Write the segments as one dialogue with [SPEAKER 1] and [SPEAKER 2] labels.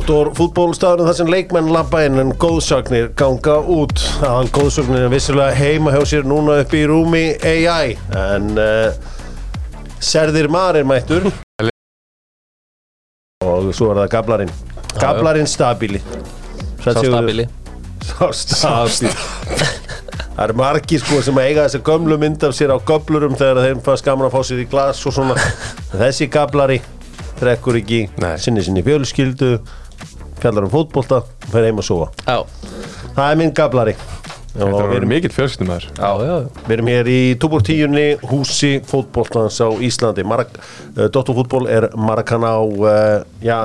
[SPEAKER 1] stór fútbólstafnum þar sem leikmenn labba inn en góðsagnir ganga út. Aðan góðsagnir er vissulega heima hjá sér núna upp í rúmi AI en uh, Serðir Mar er mættur og svo er það Gablarinn. Gablarinn Stabili. Sæll
[SPEAKER 2] Sá
[SPEAKER 1] Sigurður.
[SPEAKER 2] stabili
[SPEAKER 1] Sá Stabili. Það eru margir sko sem eiga þessa gömlu mynd af sér á göblurum þegar þeim fannst gaman að fá sér í glas og svona. Þessi gablari trekkur ekki,
[SPEAKER 3] Nei.
[SPEAKER 1] sinni sinni fjölskyldu, fjallar um fótbolta og fer heim að sofa.
[SPEAKER 2] Já,
[SPEAKER 1] Það er minn gablari.
[SPEAKER 3] Þetta
[SPEAKER 1] Og
[SPEAKER 3] er
[SPEAKER 1] við
[SPEAKER 3] orðið
[SPEAKER 1] erum,
[SPEAKER 3] mikill fjölskyldumæður
[SPEAKER 2] já, já
[SPEAKER 1] við erum hér í Tupur 10. húsi fótboltans á Íslandi. Marak, uh, Dottorfútból er Maracaná, uh, já,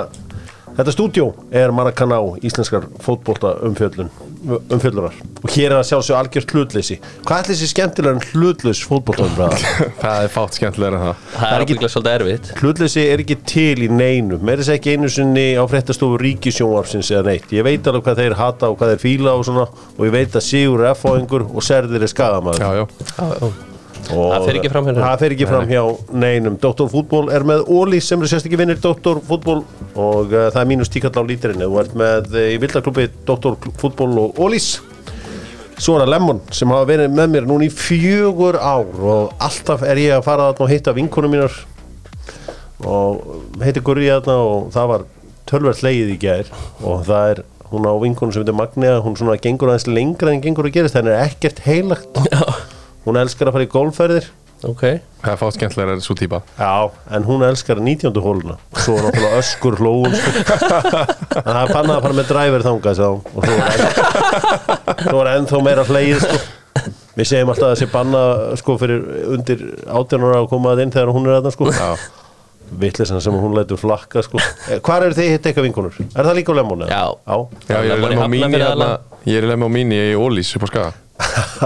[SPEAKER 1] þetta stúdjó er Maracaná íslenskar fótbolta umfjöllun umfjöllunar og hér er að sjá svo algjört hlutleysi hvað ætli þessi skemmtilega en hlutleys fótboltaumræða?
[SPEAKER 3] Það er fátt skemmtilega en það
[SPEAKER 2] Það er ábygglega svolítið erfitt
[SPEAKER 1] Hlutleysi er ekki til í neinu meira þess ekki einu sinni á fréttastofu ríkisjónvarpsins eða neitt ég veit alveg hvað þeir hata og hvað þeir fíla og svona og ég veit að Sigur er F-fóðingur og Serðir er skagamæður
[SPEAKER 3] Já, já
[SPEAKER 2] Það fer ekki fram hjá neinum.
[SPEAKER 1] það fer ekki fram hjá neinum Dr. Fútból er með Óli sem eru sérst ekki vinnir Dr. Fútból og uh, það er mínus tíkall á lítirinu þú ert með uh, í vildaklubbi Dr. Fútból og Ólís Svo er það Lemon sem hafa verið með mér núna í fjögur ár og alltaf er ég að fara þarna og hitta vinkunum mínar og heiti Gurri þarna og það var tölverð hlegið í gær og það er hún á vinkunum sem heitir Magnea hún svona gengur aðeins lengra en gengur að gerist þannig er ekkert heilagt hún elskar að fara í golfferðir
[SPEAKER 2] Ok
[SPEAKER 3] Það er fátt skemmtilega en svo típa
[SPEAKER 1] Já, en hún elskar 19. hóluna Svo er náttúrulega öskur sko. hlóun En það er pannað að fara með driver þangað sá Og svo er, enn, svo er ennþá meira hlegið sko. Við segjum alltaf að þessi banna sko, fyrir undir 18 ára að koma að inn þegar hún er aðna sko. Vittlisann sem hún lætur flakka sko. Eh, Hvar eru þið hitt eitthvað vinkunur? Er það líka á lemónu?
[SPEAKER 2] Já.
[SPEAKER 1] Já.
[SPEAKER 3] Já, ég er í
[SPEAKER 2] Lemon í
[SPEAKER 3] lemma á mínu
[SPEAKER 2] Hafnarfirði
[SPEAKER 3] hérna Ég er í lemma á mínu í Ólís upp á skaga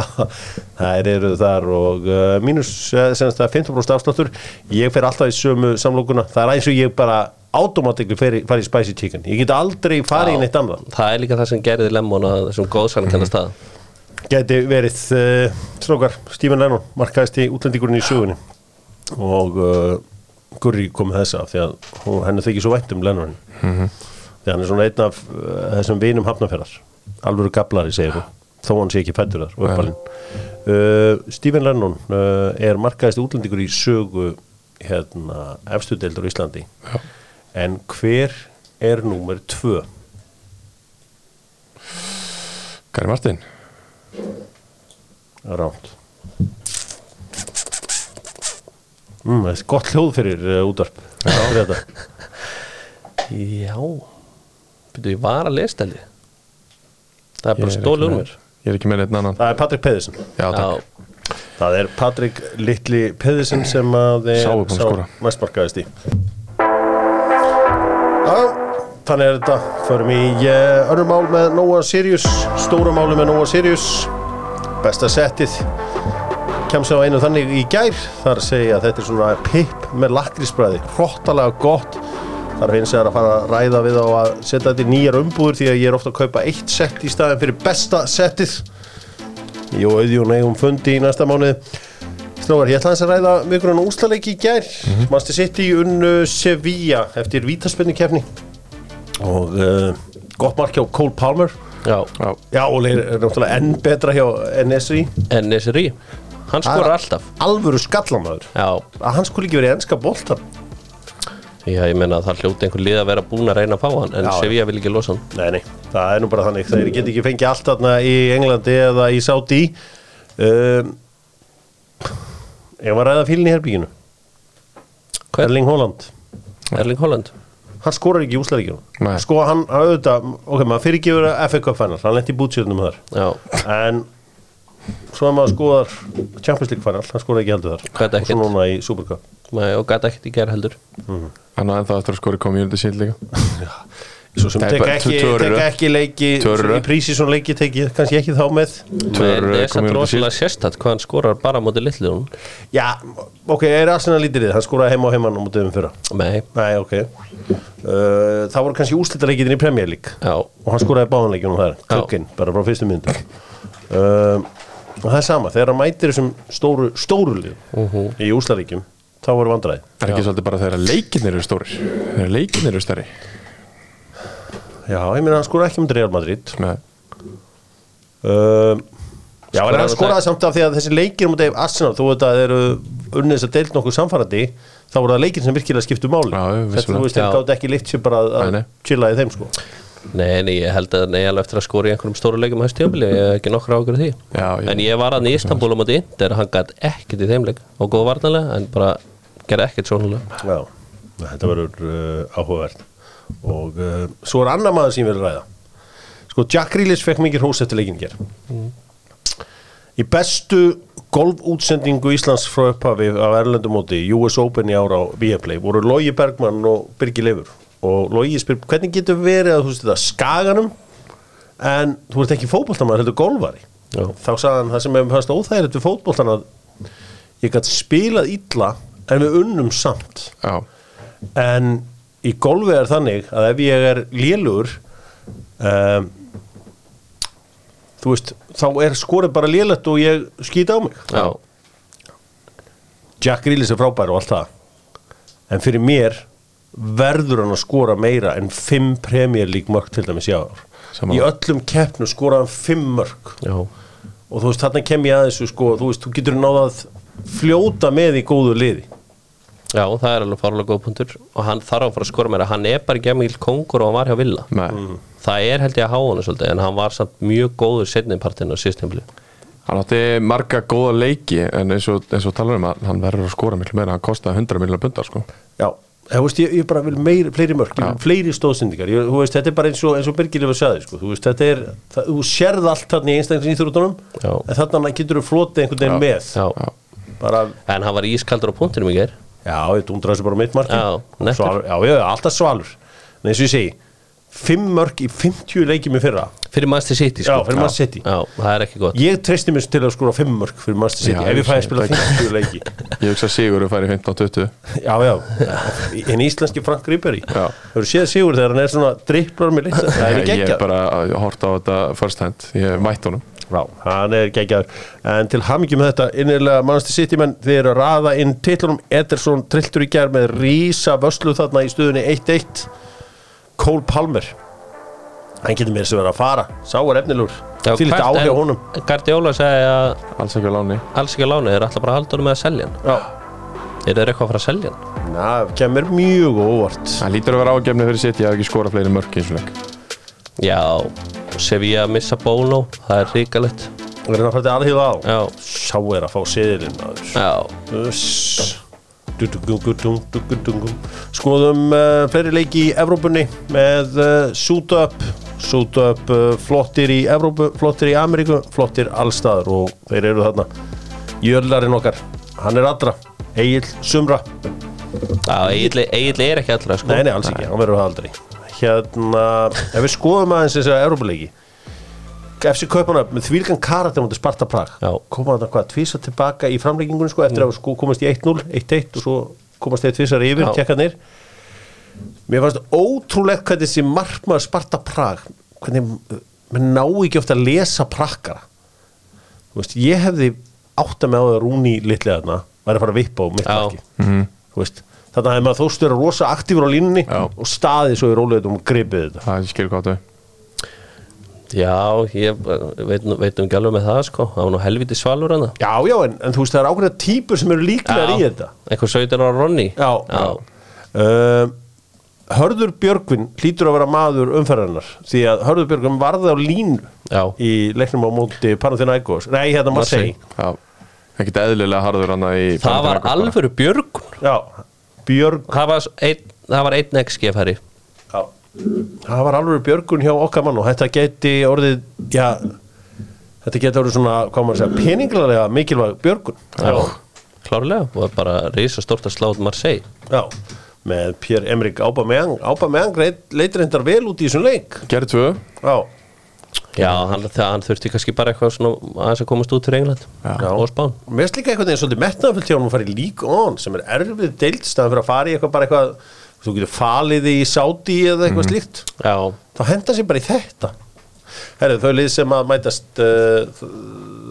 [SPEAKER 1] Þær eru þar og uh, mínus eh, senast að 15% afsláttur ég fer alltaf í sömu samlokuna það er eins og ég bara automatikli fer í, fari í spicy chicken, ég get aldrei farið í
[SPEAKER 2] Já.
[SPEAKER 1] neitt annað,
[SPEAKER 2] Það er líka það sem gerði lemon að þessum góðsann kennast það
[SPEAKER 1] gæti verið uh, strókar, Stephen Lennon markaðist í útlendingurinn í sögunni og uh, Gurri kom með þessa af því að hún, henni þykir svo vænt um Lennon því hann er svona einn af uh, þessum vinum hafnaferðar alvöru gablari segir hún þó hann sé ekki fættur þar og uppalinn uh, Stephen Lennon uh, er markaðist útlendingur í sögu hérna, efstu deildar í Íslandi
[SPEAKER 3] Já.
[SPEAKER 1] en hver er númer tvö?
[SPEAKER 3] Gary Martin
[SPEAKER 1] Ránt mm, Það er gott hljóð fyrir uh, útvarp Fyrir þetta.
[SPEAKER 2] Já Býtu, ég var að lesa þetta Það er bara stólið um mér
[SPEAKER 3] Ég er ekki með neitt annan
[SPEAKER 1] Það er Patrik Pedersen
[SPEAKER 3] Já, takk
[SPEAKER 2] Já,
[SPEAKER 1] Það er Patrik Littli Pedersen sem að er
[SPEAKER 3] Sá er búinn að skora.
[SPEAKER 1] mestmarkaðist í Já, Þannig er þetta Förum í uh, önnum mál með Nóa Sirius Stóra máli með Nóa Sirius Besta settið kemst á einu þannig í gær þar segja að þetta er svona pipp með lakrísbræði, hróttalega gott þar finnst ég að fara að ræða við á að setja þetta í nýjar umbúður því að ég er ofta að kaupa eitt sett í staðin fyrir besta settið ég og auðjón eigum fundi í næsta mánuði Strókar, ég ætla aðeins að ræða mjög grunn úrslaleik í gær mm -hmm. Master City unnu Sevilla eftir vítaspinni kefni og uh, gott mark hjá Cole Palmer
[SPEAKER 2] já
[SPEAKER 3] Já,
[SPEAKER 1] já, og er er náttúrulega enn betra hjá NSI
[SPEAKER 2] En Nesri Hann skora alltaf
[SPEAKER 1] alvöru skallamöður
[SPEAKER 2] Já,
[SPEAKER 1] að hann skulle ekki verið í ennska boltan
[SPEAKER 2] já ég meina að það hljóti einhver lið að vera búin að reyna að fá hann En
[SPEAKER 1] Já, já.
[SPEAKER 2] Sevilla vil ekki losa hann
[SPEAKER 1] Nei, nei, það er nú bara þannig þeir get ekki fengið allt þarna í Englandi eða í Saudi um, Ég var ræða fílinn í herbygginu
[SPEAKER 2] Hver?
[SPEAKER 1] Erling Holland
[SPEAKER 2] Erling Holland
[SPEAKER 1] Hann skorar ekki í úslaríkjum
[SPEAKER 3] Nei.
[SPEAKER 1] Sko hann, hann auðvitað, ok, maður fyrir ekki verið FA Cup final, hann lenti í bútsjöldum þar
[SPEAKER 2] Já,
[SPEAKER 1] En svo að maður skoðar Champions League final, hann skorar ekki heldur þar
[SPEAKER 2] Hvað er
[SPEAKER 1] Og svo
[SPEAKER 2] ekkert?
[SPEAKER 1] núna í Super Cup
[SPEAKER 2] Nei, og gæti ekkert í gerð heldur
[SPEAKER 3] hann á ennþá eftir að skora community síld líka
[SPEAKER 1] Svo sem
[SPEAKER 3] Nei,
[SPEAKER 1] tek
[SPEAKER 3] bara
[SPEAKER 1] ekki,
[SPEAKER 3] tvö- tvö eru
[SPEAKER 1] tek
[SPEAKER 3] röð.
[SPEAKER 1] ekki leiki
[SPEAKER 3] Tvö eru
[SPEAKER 1] Í
[SPEAKER 3] röð.
[SPEAKER 1] prísi svona leiki tek ég kannski ekki þá með
[SPEAKER 2] Nei,
[SPEAKER 3] Tvör,
[SPEAKER 2] það
[SPEAKER 3] eh,
[SPEAKER 2] er samt
[SPEAKER 3] community
[SPEAKER 2] rosalega sérstætt hvað hann skorar bara á móti litlið hún
[SPEAKER 1] Já, ok, er Arsenal lítið við, hann skoraði heima og heimann á mútið um fyrra
[SPEAKER 2] Nei,
[SPEAKER 1] Nei, ok uh, Það voru kannski úslitaleikitin í Premier League
[SPEAKER 2] já,
[SPEAKER 1] og hann skoraði báðanleikjunum þar, klukkinn, bara frá fyrstu myndu uh, og það er sama, þegar hann mætir þessum stóru, stóru lið
[SPEAKER 2] Mhm.
[SPEAKER 1] í úslitaleikum, þá voru vandræði
[SPEAKER 3] Það er ekki svolítið bara þegar leikinir eru stórir Þegar leikinir eru stærri
[SPEAKER 1] Já, ég meina hann skoraði ekki um Real Madrid
[SPEAKER 3] Nei,
[SPEAKER 1] um, Já, en hann
[SPEAKER 2] Skoraði
[SPEAKER 1] skoraði samt af því að þessi leikir mútið um Arsenal, þú veit að þeir eru unnið þess að deilt nokkuð samfærandi þá voru það leikir sem virkilega skiptu máli
[SPEAKER 3] Já, já,
[SPEAKER 1] Þetta þú
[SPEAKER 3] vissulega.
[SPEAKER 1] veist, þeir
[SPEAKER 2] Já.
[SPEAKER 1] gátt ekki leitt sér bara að-
[SPEAKER 3] Nei,
[SPEAKER 1] að
[SPEAKER 3] nei.
[SPEAKER 1] chilla í þeim sko
[SPEAKER 2] Nei, nei, ég held að neðal eftir að skora í einhverjum stóru leikum höstjábili, ég hef ekki nokkra ágjör því
[SPEAKER 3] Já, ég-
[SPEAKER 2] En ég var hann í Istanbul á móti Inter, hann gæti ekkert í þeim leik og góð varnalega, en bara gerði ekkert svonulega
[SPEAKER 1] Já, þetta verður
[SPEAKER 3] eh,
[SPEAKER 1] uh, áhugavert og uh, svo er annar maður sem ég vil ræða sko Jack Grealish fekk mikið hrós eftir leikinn hér í bestu golfútsendingu Íslands frá upphafi af Erlendu móti US Open í ára á Viaplay voru Logi Bergmann og Birgi Leifur og Logi spyr hvernig getur verið að þú veist þetta skaganum en þú ert ekki fótboltamaður heldur golfari
[SPEAKER 2] Já.
[SPEAKER 1] þá sagði hann það sem hefum höfst óþægilegt við fótboltan að ég gætt spilað illa en við unnum samt
[SPEAKER 3] já,
[SPEAKER 1] en í golfi er þannig að ef ég er lélugur um, þú veist þá er skorið bara lélegt og ég skýt á mig
[SPEAKER 2] Já,
[SPEAKER 1] Jack Grealish er frábær og allt það en fyrir mér verður hann að skora meira en 5 Premier League mörg til dæmis í ár í
[SPEAKER 3] Sammála.
[SPEAKER 1] öllum keppnu skoraði hann 5 mörg
[SPEAKER 2] já,
[SPEAKER 1] og þú veist þarna kem ég að þessu sko þú veist þú getur náðað fljóta með í góðu liði
[SPEAKER 2] já, það er alveg fárlega góð punktur og hann þarf að fara að skora meira, hann er bara gemil kongur og hann var hjá Villa
[SPEAKER 3] nei
[SPEAKER 2] Það er held ég að há hann svolítið, en hann var samt mjög góður setnið partinn á síðstempli
[SPEAKER 3] Hann átti marga góða leiki en eins og, eins og talar um að hann verður að skora miklu meira, hann kostaði 100 miljonar pundar sko.
[SPEAKER 1] Já, Eh, þú veist, ég, ég bara vil meiri, fleiri mörg, ég vil fleiri stóðsendingar ég, þú veist, þetta er bara eins og, eins og Birgilif að sagði sko. þú veist, þetta er, það, þú sérð allt þarna í einstaklega íþrótunum,
[SPEAKER 2] Já.
[SPEAKER 1] en þarna getur þú flotið einhvern veginn með
[SPEAKER 2] Já,
[SPEAKER 1] bara,
[SPEAKER 2] en hann var ískaldur á punktinum í ger
[SPEAKER 1] já, ég dundra þessu bara á mitt marki
[SPEAKER 2] Já, nettur.
[SPEAKER 1] svalur, já, já, alltaf svalur en eins og ég segi, fimm mörg í 50 leikjum í fyrra,
[SPEAKER 2] Fyrir Master City sko.
[SPEAKER 1] já, fyrir maður seti
[SPEAKER 2] Já, það er ekki gott
[SPEAKER 1] ég treysti mér til að skora fimm mörg fyrir maður seti,
[SPEAKER 3] Já,
[SPEAKER 1] ef ég
[SPEAKER 3] ég
[SPEAKER 1] fæ að
[SPEAKER 3] segi,
[SPEAKER 1] spila 50 leiki
[SPEAKER 3] Ég hugsa að Sigur að færi 15-20
[SPEAKER 1] já, já, en íslenski Frank Ríberi
[SPEAKER 3] Já.
[SPEAKER 1] hefur séð sigur þegar hann er svona dripplar með leikta, það er
[SPEAKER 3] Ég- Ég
[SPEAKER 1] geggjað
[SPEAKER 3] er bara að horta á þetta first hand Ég mætt honum
[SPEAKER 1] Já, hann er geggjaður En til hamingjum með þetta, innilega mannstu sitt menn þið eru að raða inn titlunum Ederson trilltur í gerð með rísa vöslu þarna í stöðunni 1-1 Cole Palmer Hann getur mér sem verið að fara Sá er efnilur,
[SPEAKER 2] Já,
[SPEAKER 1] því lítið
[SPEAKER 2] hvert-
[SPEAKER 1] áhrif á
[SPEAKER 2] en
[SPEAKER 1] honum
[SPEAKER 2] Guardiola sagði að
[SPEAKER 3] Alls ekki á láni
[SPEAKER 2] alls ekki að lána, þeir eru alltaf bara að halda honum með að selja hann
[SPEAKER 1] Já,
[SPEAKER 2] Er þeir eitthvað að fara að selja hann?
[SPEAKER 1] na, kemur mjög á óvart
[SPEAKER 3] Hann lítur að vera ágefni fyrir sitt, ég hef ekki skorað fleiri mörk í þessum leik
[SPEAKER 2] Já, Sevilla missa Bono, það er ríkalegt
[SPEAKER 1] Það er að fara til alhýða á
[SPEAKER 2] Já,
[SPEAKER 1] Sá er að fá siðilinn maður
[SPEAKER 2] já,
[SPEAKER 1] Uss. Du-du-gu-gu-dung, du-gu-dung-gung. Skoðum uh, fleiri leiki í Evrópunni með uh, Shoot Up Shoot Up uh, flottir í Evrópu, flottir í Ameríku, flottir allstaðar og þeir eru þarna Jöllarinn okkar, hann er allra Egil Sumra,
[SPEAKER 2] já eiginlega er ekki allra sko.
[SPEAKER 1] nei nei alls ekki, hann verður það aldrei Hérna, ef við skoðum aðeins þessi Evrópuleiki FC Kaupanöf með þvílgan karakter mútið Sparta Prag
[SPEAKER 2] Já. Mm.
[SPEAKER 1] koma þarna hvað, tvísa tilbaka í framleggingunni sko, eftir að sko, komast í 1-0, 1-1 og svo komast þeir tvísar yfir,
[SPEAKER 2] Já.
[SPEAKER 1] tjekkanir Mér fannst ótrúlegt hvernig þessi markmaður Sparta Prag hvernig, uh, menn ná ekki ofta að lesa prakkara Þú veist, ég hefði átt að með á það Rúni litlega þarna, væri að fara að vippa á mitt
[SPEAKER 2] Já. Mhm.
[SPEAKER 1] marki mm. veist, Þarna hefði maður þóst verið rosa aktífur á línunni
[SPEAKER 3] Já.
[SPEAKER 1] og staðið svo í rólegðum og gripið þetta
[SPEAKER 3] Það er skil hvað þau
[SPEAKER 2] Já, ég veit, nú- veit nú ekki alveg með það sko. Það var nú helviti svalur hann
[SPEAKER 1] Já, já, en, en þú veist, það er ákveðna típur sem eru líklegar í þetta
[SPEAKER 2] Eitthvað 17 ára Ronny
[SPEAKER 1] Já,
[SPEAKER 2] já.
[SPEAKER 1] Uh, Hörður Björgvin hlýtur að vera maður umferðarnar því að Hörður Björgvin varði á línu
[SPEAKER 2] Já.
[SPEAKER 1] í leiknum á móti Panathinaikos Nei, hérna Marseille
[SPEAKER 3] Já Ekkert eðlilega harður hann í
[SPEAKER 2] Það var alvöru björgun
[SPEAKER 1] Já, Björg
[SPEAKER 2] Það var einn, það var einn XG færi
[SPEAKER 1] já. Það var alveg Björgun hjá okkar mann og þetta geti orðið já, þetta geti orðið svona hvað maður að segja, peninglega mikilvæg Björgun
[SPEAKER 2] Já, klárlega og bara risa stort að slá út Marseille
[SPEAKER 1] Já, með Pierre-Emerick Aubameyang Aubameyang leit, leitir hendar vel út í þessum leik
[SPEAKER 3] Gerð tvö
[SPEAKER 1] Já,
[SPEAKER 2] Já, hann, það, hann þurfti kannski bara eitthvað svona aðeins að komast út fyrir England
[SPEAKER 1] Já.
[SPEAKER 2] og Spán
[SPEAKER 1] Mér finnst líka einhvern veginn svolítið metnaðfullt hjá hann að fara í League On sem er erfið deilt staðan fyrir að fara í eitthvað bara eitthvað þú getur falið í Saudi eða eitthvað slíkt
[SPEAKER 2] Já,
[SPEAKER 1] þá henda sér bara í þetta Herðu, þau lið sem að mætast uh,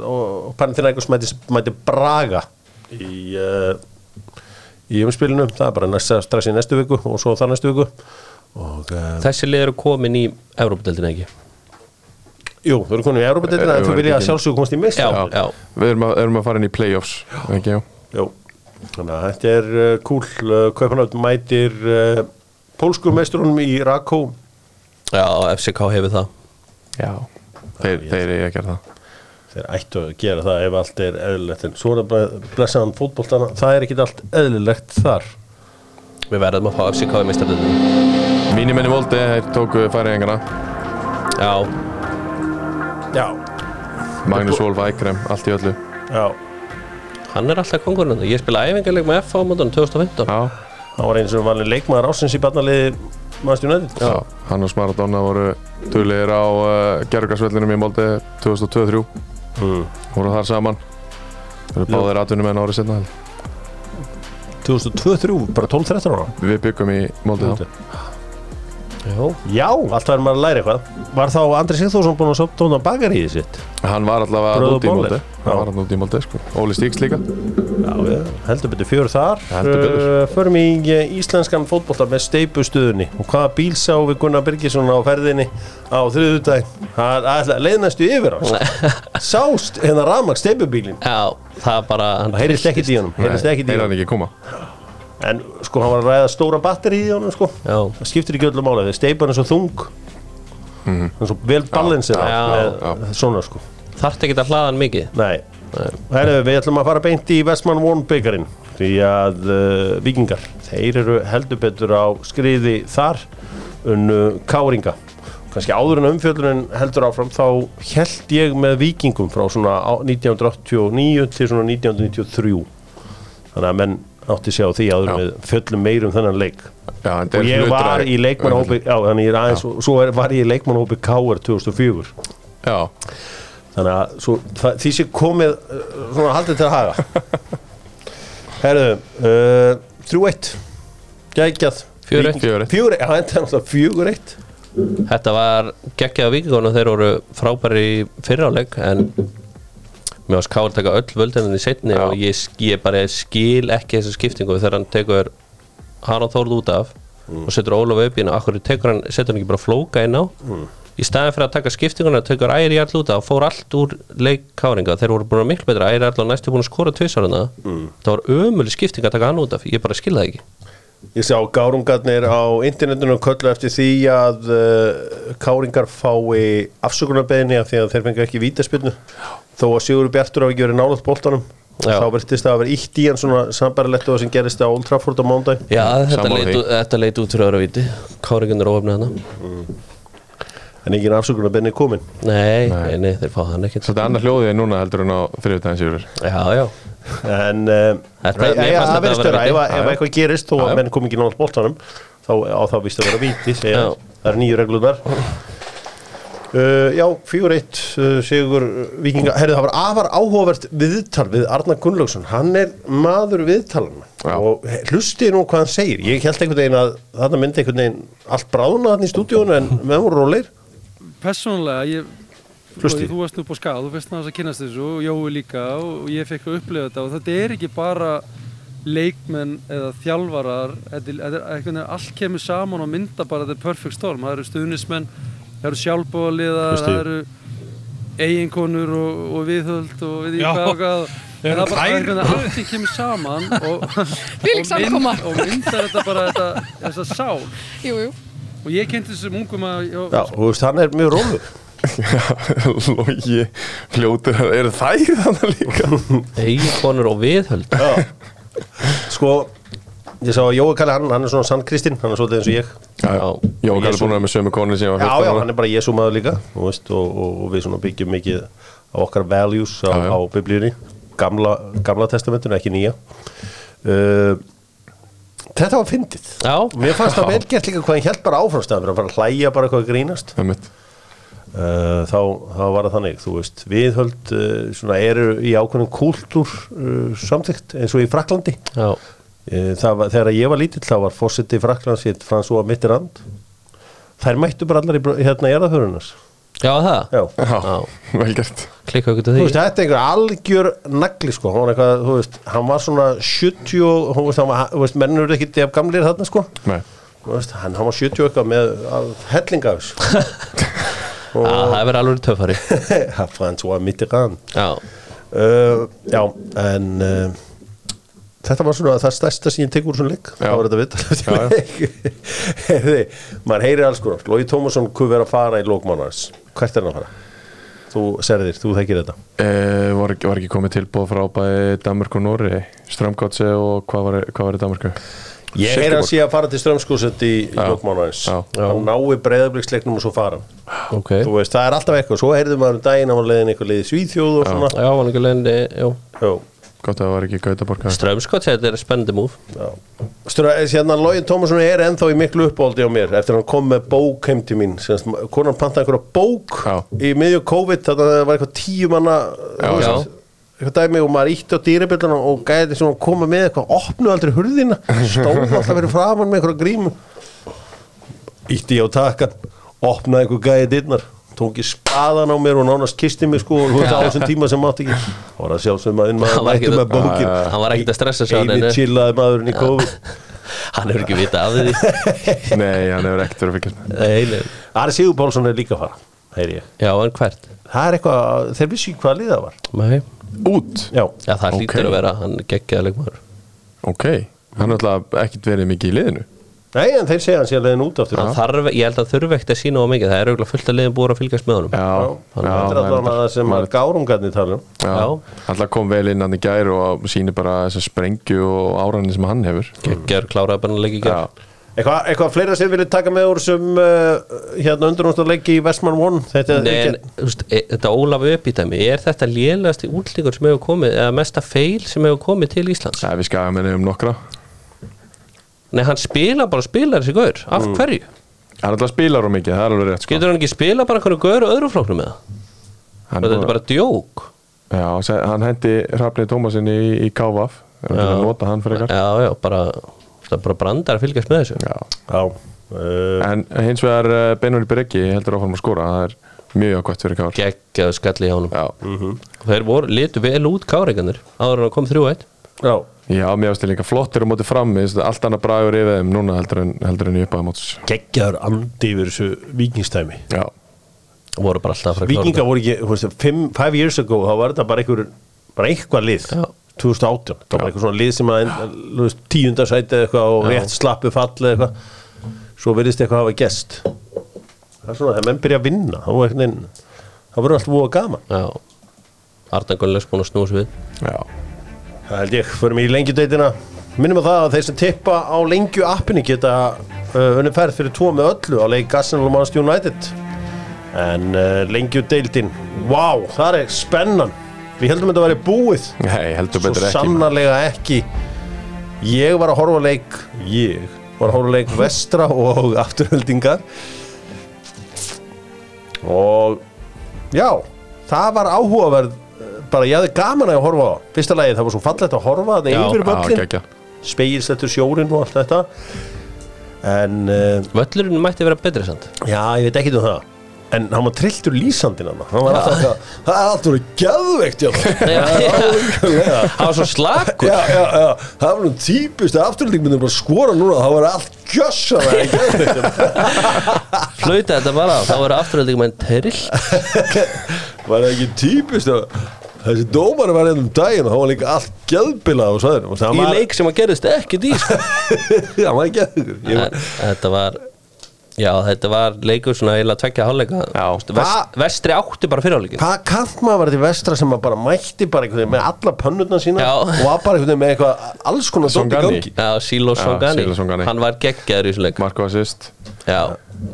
[SPEAKER 1] og Panathinaikos mæti, mæti Braga í, uh, í umspilinu það er bara næsta, strax í næstu viku og svo þar næstu viku og uh,
[SPEAKER 2] Þessi lið eru komin í Európa-deldina ekki
[SPEAKER 1] jú, þú eru komin í Európa-deltina
[SPEAKER 3] Eh,
[SPEAKER 1] en þú
[SPEAKER 3] eru
[SPEAKER 1] vilja að
[SPEAKER 3] ekki-
[SPEAKER 1] sjálfsögum komast í mist
[SPEAKER 2] Já, já,
[SPEAKER 3] Við erum að, erum að fara inn í play-offs ekki, já.
[SPEAKER 1] Jú. þannig að þetta er uh, kúl uh, Kaupanöld mætir uh, pólsku meisturunum í Rakó
[SPEAKER 2] já, FCK hefur það
[SPEAKER 3] Já. Þeir, þeir eru að gera það
[SPEAKER 1] þeir ættu að gera það ef allt er eðlilegt en svo er að bara blessaðan fótboltana það er ekkit allt eðlilegt þar
[SPEAKER 2] Við verðum að fá FCK í meistardeldina
[SPEAKER 3] Mínimenni Voldi, þeir tóku færiðingana
[SPEAKER 2] Já,
[SPEAKER 1] já,
[SPEAKER 3] Magnús Wolf, Ækrem, allt í öllu
[SPEAKER 1] já
[SPEAKER 2] hann er alltaf kongurinn Ég spila æfingarleik með FH á mótunum 2015
[SPEAKER 3] Já,
[SPEAKER 1] hann var eins og valin leikmaður ásins í barnaliði Manchester United
[SPEAKER 3] já. hann og Smaradonna voru tölir á uh, gerðugarsvellinum í Molde 2023
[SPEAKER 1] Mm.
[SPEAKER 3] voru þar saman Þeir eru báðir atvinnum enn árið setna
[SPEAKER 1] 2002-2003, bara 12-13 ára
[SPEAKER 3] Við byggum í Molde þá
[SPEAKER 2] Jó,
[SPEAKER 1] Já, alltaf er maður að læra eitthvað Var þá Andri Sigþórsson búinn að sopna á bakaríði sitt?
[SPEAKER 3] Hann var allavega
[SPEAKER 1] Bröður
[SPEAKER 3] út í
[SPEAKER 1] Boller.
[SPEAKER 3] Molde
[SPEAKER 1] Já.
[SPEAKER 3] Hann var allavega út í Molde sko Óli Stíks líka
[SPEAKER 1] Já, við heldur betur fjör þar
[SPEAKER 3] Heldur betur.
[SPEAKER 1] Eh, Förum í eh, íslenskan fótbolta með steipustuðunni og hvaða bíl sá við Gunnar Birgisson á ferðinni á þriðudag Það ætla- leið næstu yfir hans Sást hérna rafmagn steipubílin
[SPEAKER 2] já, það er bara hann
[SPEAKER 1] Það heyrist ekkert í honum, heyrist ekkert í
[SPEAKER 3] Heyrði
[SPEAKER 1] honum
[SPEAKER 3] hann ekki koma
[SPEAKER 1] En sko, hann var að ræða stóra batteri í honum sko
[SPEAKER 2] Já,
[SPEAKER 1] Það skiptir ekki öllu máli, þeir steipa hann svo þung Hann er svo vel balansir
[SPEAKER 2] Mhm. já,
[SPEAKER 1] Svona sko
[SPEAKER 2] þarft ekki að hlaða hann mikið
[SPEAKER 1] Nei, Herru, við ætlum að fara beint í Vestmann One byggarinn því að uh, vikingar, þeir eru heldur betur á skriði þar unnu káringa kannski áður en umfjöldunin heldur áfram þá held ég með vikingum frá svona á- 1989 til svona 1993 þannig að menn átti sig á því áður en
[SPEAKER 3] Já.
[SPEAKER 1] við fjöllum meir um þennan leik
[SPEAKER 3] Já, en
[SPEAKER 1] og
[SPEAKER 3] þeir
[SPEAKER 1] ég
[SPEAKER 3] hlutu
[SPEAKER 1] var í
[SPEAKER 3] að-
[SPEAKER 1] leikmannhópi já, þannig ég er aðeins, svo er, var ég í leikmannhópi KR 2004
[SPEAKER 3] Já,
[SPEAKER 1] þannig að svo, það, því sé komið uh, svona haldið til að haga herðu uh, 3-1 gægjað
[SPEAKER 2] 4-1.
[SPEAKER 3] 4-1.
[SPEAKER 1] 4-1, það endaði náttúrulega 4-1
[SPEAKER 2] Þetta var geggjaða vikingónu þeir voru frábæri í fyrráleik en mér varst Kár taka öll völdinni í setni
[SPEAKER 3] Já.
[SPEAKER 2] og ég, sk- ég bara skil ekki þessa skiptingu þegar hann tekur Harald Þórð út af
[SPEAKER 3] Mm.
[SPEAKER 2] og setur Ólaf upp í hann og akkur tekur hann, setur hann ekki bara flóka inn á
[SPEAKER 3] Mm.
[SPEAKER 2] í staðin fyrir að taka skiptinguna tekur æri all út af og fór allt úr leik Káringa, þeir voru búin að miklu betra æri all og næstu búin að skora tvisaruna mm. það var ömuleg skipting að taka hann út af ég bara skil það ekki
[SPEAKER 1] ég sá gárungarnir á internetinu og köllu eftir því að uh, káringar fái afsökunarbeðinni af því að þeir fengi ekki vítaspilnu þó að Sigur Bjartur hafi ekki verið nálaðt boltanum
[SPEAKER 2] Já.
[SPEAKER 1] þá verðist það að vera ítt í hann svona sambarilegt og sem gerist á Old Trafford á mándag
[SPEAKER 2] Já, þetta
[SPEAKER 3] Sammála
[SPEAKER 2] leit,
[SPEAKER 3] því.
[SPEAKER 2] ú- þetta leit út fyrir öðru viti Káringan er óöfnið hana
[SPEAKER 1] en engin afsökunarbeðinni komin
[SPEAKER 2] Nei, nei, nei, þeir fá hann ekkert
[SPEAKER 3] Svolítið annað hljóðið núna heldur en á þriðutæðin síður
[SPEAKER 2] Já, já,
[SPEAKER 1] en um,
[SPEAKER 2] Þetta-
[SPEAKER 1] Æ,
[SPEAKER 2] mér
[SPEAKER 1] æ, það verður
[SPEAKER 2] fannst þetta að vera
[SPEAKER 1] störa,
[SPEAKER 2] víti.
[SPEAKER 1] ef, að-
[SPEAKER 3] Já,
[SPEAKER 1] ef
[SPEAKER 3] já.
[SPEAKER 1] eitthvað gerist og
[SPEAKER 3] Já, já.
[SPEAKER 1] menn kom ekki nátt boltanum þá á þá víst að vera víti segja
[SPEAKER 2] Já.
[SPEAKER 1] þeir. það er nýju reglunar Uh, já, 4-1 uh, Sigur uh, Víkinga Herðu, það var afar áhugavert viðtal við Arnar Gunnlaugsson Hann er maður viðtalan
[SPEAKER 3] Já.
[SPEAKER 1] og he- hlustið nú hvað hann segir Ég held einhvern veginn að þarna myndi einhvern veginn allt bráðna þarna í stúdíónu en meðan voru róleir
[SPEAKER 4] Persónulega, ég,
[SPEAKER 1] Hlustið.
[SPEAKER 4] þú varst nú upp á skáð, þú fyrst náttúrulega að kynast þessu og Jói líka og ég fekk að upplifa þetta og þetta er ekki bara leikmenn eða þjálfarar, þetta er, þetta er, einhvern veginn allt kemur saman og mynda bara þetta perfect storm, það eru stuðnismenn, það eru sjálfbóðaliðar,
[SPEAKER 1] Hlustið.
[SPEAKER 4] það eru eiginkonur og, og viðhöld og við því
[SPEAKER 5] Já,
[SPEAKER 4] hvað og hvað
[SPEAKER 5] þeir eru
[SPEAKER 4] það er bara
[SPEAKER 5] þær.
[SPEAKER 4] einhvern veginn allt sem kemur saman og,
[SPEAKER 6] Þvílík
[SPEAKER 4] og,
[SPEAKER 6] samkoma.
[SPEAKER 4] mynd, og myndar þetta bara þetta, þessa sál
[SPEAKER 6] Jú, jú.
[SPEAKER 4] og ég kynnti þessum ungum að og,
[SPEAKER 1] Já, þú veist, hann er mjög rólegur
[SPEAKER 3] Lógi, hljótur, eru þær þannig líka?
[SPEAKER 2] eiginkonur og viðhöld
[SPEAKER 1] Já. Sko, ég sá að Jói Kalli hann, hann er svona sannkristinn, hann er svolítið eins og ég
[SPEAKER 3] Já, já. Jó, hann er búin að vera með sömu konu sem ég var
[SPEAKER 1] Já, já,
[SPEAKER 3] fyrst
[SPEAKER 1] hann er bara Jésu maður líka þú veist, og, og, og við svona byggjum mikið á okkar values á,
[SPEAKER 3] Já, já.
[SPEAKER 1] á biblíunni gamla, gamla testamentinu, ekki nýja uh, Þetta var fyndið
[SPEAKER 2] Já,
[SPEAKER 1] Mér fannst það vel gert líka hvað hann held bara áframstæðan að fara að hlæja bara eitthvað að grínast
[SPEAKER 3] Einmitt.
[SPEAKER 1] uh, þá, þá var það þannig, þú veist viðhöld uh, svona eru í ákveðnum kúltúr uh, samþygt eins og í Fraklandi
[SPEAKER 2] já,
[SPEAKER 1] Eh, það var, þegar ég var lítill þá var fórseti Fraklands hétt François Mitterrand þær mættu bara allar í, br- hérna í erðaförunars
[SPEAKER 2] já það
[SPEAKER 1] Já.
[SPEAKER 3] Já,
[SPEAKER 2] Já.
[SPEAKER 3] vel gert
[SPEAKER 2] Klikka ykkur til
[SPEAKER 1] Þú
[SPEAKER 2] því
[SPEAKER 1] veist, þetta er einhver algjör nagli sko, hann var eitthvað, þú veist, hann var svona 70 og, þú veist, hann var, þú veist, mennur eru ekkit ef gamlir þarna sko
[SPEAKER 3] Nei.
[SPEAKER 1] Þú Þú veist, hann, hann var 70 og eitthvað með að hellinga þessu
[SPEAKER 2] Á, það verður alveg töffari
[SPEAKER 1] François Mitterrand
[SPEAKER 2] Já,
[SPEAKER 1] uh, já, en uh, þetta var svona það stærsta sem ég tek úr svona leik
[SPEAKER 3] Já.
[SPEAKER 1] það var þetta
[SPEAKER 3] Já, já.
[SPEAKER 1] vitt heyrði, maður heyri alls konar Lói Tómasson kuð vera að fara í lókmánars hvert er hann að fara? þú serðir, þú þekkir þetta
[SPEAKER 3] Eh, var, ekki- var ekki komið tilbúð frá bæði Danmörk og Nóri, Strömgátsi og hvað var, hvað var í Danmörku?
[SPEAKER 1] ég heyri að sé að fara til strömskúsett í, í lókmánars
[SPEAKER 3] Já.
[SPEAKER 1] hann nái breyðabliksleiknum og svo fara hann
[SPEAKER 2] ok
[SPEAKER 1] þú veist, það er alltaf eitthvað, svo heyrðum maður um daginn að hann leiðin eitthvað leiði Svíþjóð og svona
[SPEAKER 2] Já, hann ekki eh, leiðin
[SPEAKER 1] já,
[SPEAKER 3] Gott að það var ekki Gautaborg eða?
[SPEAKER 2] Strömskot, þetta er spennandi múf
[SPEAKER 1] já Stra, hérna, Lógin Tómasson er ennþá í miklu uppáldi á mér eftir að hann kom með bók heim til mín Sérst, konan pantaði einhverja bók
[SPEAKER 3] Já.
[SPEAKER 1] í miðju COVID, þannig að það var eitthvað tíu manna
[SPEAKER 3] Já,
[SPEAKER 1] þú
[SPEAKER 2] já.
[SPEAKER 1] veist, eitthvað dæmi og maður ítti á dýrabillana og gæti svona að koma með eitthvað, opnu aldrei hurðina stóð alltaf verið framann með einhverja grímu ítti ég á takkan opnaði einhver gæði dyrnar tók ég spaðan á mér og nánast kisti mig sko og þú veist á þessum tíma sem mátt ekki Það var að sjálfsögum að inn maður
[SPEAKER 2] Hann var
[SPEAKER 1] mættu
[SPEAKER 2] ekkert-
[SPEAKER 1] með bókin
[SPEAKER 2] Já, já, já. Hann var ekkert að stressa sig á
[SPEAKER 1] eini
[SPEAKER 2] neinu.
[SPEAKER 1] chillaði maðurinn í COVID
[SPEAKER 2] Hann hefur ekki vita af því
[SPEAKER 3] Nei, hann hefur ekkert verið að fylgjast með
[SPEAKER 2] Nei, nei.
[SPEAKER 1] Ari Sigur Pálsson er líka að fara heyri ég
[SPEAKER 2] Já, en hvert?
[SPEAKER 1] það er eitthvað þeir vissi ekki hvað liða var
[SPEAKER 2] Nei.
[SPEAKER 3] Út?
[SPEAKER 1] já
[SPEAKER 2] Já, það
[SPEAKER 3] Ok.
[SPEAKER 2] hlýtur að vera, hann geggjaði leikmaður
[SPEAKER 3] Ok, hann er alltaf ekkert verið mikið í liðinu
[SPEAKER 1] nei en þeir segja hann sé að leiðin út aftur
[SPEAKER 2] Hann þarf, ég held að þurfi ekkert að sína á mikið Það er auðvitað fullt að leiðin búið að fylgjast með honum
[SPEAKER 3] Já,
[SPEAKER 1] Já, þetta er allavega það sem að gárungarnir tala um
[SPEAKER 3] Já,
[SPEAKER 2] Já.
[SPEAKER 3] alltaf kom vel inn hann í gær og sýnir bara þessa sprengju og áræðin sem hann hefur
[SPEAKER 2] Geggjar kláraði bara leik í
[SPEAKER 3] Já,
[SPEAKER 2] gerð
[SPEAKER 1] Eitthvað, eitthvað fleira sem viljið taka með úr sem uh, hérna undurnáttarleiki í Vestmann 1 þetta
[SPEAKER 2] Nei, en, þú veist, e, þetta Ólaf uppítæmi Er þetta lélegasti útlíkur sem hefur komið eða mesta feil sem hefur komið til Íslands
[SPEAKER 3] það er við skaga minni um nokkra
[SPEAKER 2] Nei, hann spila bara spilar þessi gaur Af hverju?
[SPEAKER 3] Hann alltaf spilar hún mikið, það er alveg rétt sko.
[SPEAKER 2] Getur hann ekki spila bara einhvern gaur og öðru flóknum með það?
[SPEAKER 3] hann,
[SPEAKER 2] Þetta er bara djók
[SPEAKER 3] Já, se- hann hendi Hrafni Tómasin í, í KVF Það er að nota hann fyrir eitthvað
[SPEAKER 2] Já, já, bara, það er bara brandar að fylgjast með þessu
[SPEAKER 1] Já uh,
[SPEAKER 3] En hins vegar Benur Breki heldur áfram að skora Það er mjög ákvæmt fyrir KVF
[SPEAKER 2] Geggjaðu skalli í honum
[SPEAKER 3] Já,
[SPEAKER 2] Þeir voru, litu vel út káreikandir áður en að kom 3-1
[SPEAKER 1] Já,
[SPEAKER 3] já mér finnst það líka flottir á móti fram mér finnst Allt annað bragur yfir þeim núna heldur en, heldur en í uppaða mótis
[SPEAKER 1] geggjaður andi yfir þessu vikingstæmi
[SPEAKER 3] Já,
[SPEAKER 2] voru bara alltaf að fara að klára
[SPEAKER 1] Vikinga voru ekki, þú veist, fimm- five years ago þá var þetta bara einhver, bara eitthvað lið
[SPEAKER 2] Já.
[SPEAKER 1] 2018, það var eitthvað svona lið sem að en- þú veist, tíundarsæti eða eitthvað og rétt slappu fallið eitthvað svo virðist eitthvað hafa gest það er svona, þegar menn byrja að vinna þá er einhvern veginn, þá verður allt búið gaman
[SPEAKER 2] þetta. Já, Arnar Gunnlegs búin að snúa sér við
[SPEAKER 3] já
[SPEAKER 1] Það held ég, förum í lengjudeitina Minnum á það að þeir sem tippa á lengju appinni geta uh, unni ferð fyrir tvo með öllu á leik Arsenal og Manchester United En uh, lengjudeildin, vá, það er spennan Við heldum þetta að vera búið
[SPEAKER 3] Nei, heldur
[SPEAKER 1] Svo
[SPEAKER 3] betur ekki
[SPEAKER 1] sannarlega ekki Ég var að horfa á leik, ég var að horfa á leik vestra og afturhöldingar Og já, það var áhugaverð eh, bara ég hafði gaman að horfa á það. fyrsta lagi það var svo fallegt að horfa það
[SPEAKER 2] Já,
[SPEAKER 1] yfir
[SPEAKER 3] Já,
[SPEAKER 1] völlin,
[SPEAKER 3] geggja
[SPEAKER 1] spegilsettur sjórin og allt þetta en uh,
[SPEAKER 2] Völlurinn mætti vera betri samt
[SPEAKER 1] já, ég veit ekki um það en hann var trilltur lýsandinn hann hann var alltaf eitthvað, það er alltaf verið gæðveikt já, já,
[SPEAKER 2] Það var svo slagur
[SPEAKER 1] já, já, já, það var nú típist að afturhalding myndi bara skora núna, það var allt gjössalega gæðveikt
[SPEAKER 2] Flauta þetta bara, þá verður afturöldingum enn terill
[SPEAKER 1] var það ekki típist að þessi dómar var einn um daginn og það var líka allt gæðbilað og sæðinu og það
[SPEAKER 2] Í
[SPEAKER 1] var,
[SPEAKER 2] leik sem að gerist ekki dís
[SPEAKER 1] það var gæðveikur ég var
[SPEAKER 2] sko. Þetta var Já, þetta var leikur svona eiginlega tveggja hálfleika
[SPEAKER 3] Já.
[SPEAKER 2] Vest- Vest, Vestri átti bara fyrirháleikin
[SPEAKER 1] Hvað kant maður var þetta í vestra sem maður bara mætti bara einhvern veginn með alla pönnurna sína
[SPEAKER 2] Já.
[SPEAKER 1] og var bara einhvern veginn með eitthvað alls konar dótt í
[SPEAKER 3] Songani.
[SPEAKER 1] gangi
[SPEAKER 2] Já, Silo
[SPEAKER 3] Já,
[SPEAKER 2] Songani
[SPEAKER 3] Silo Songani.
[SPEAKER 2] Hann var geggjaður í þessum leik
[SPEAKER 3] Marko assist
[SPEAKER 2] Já,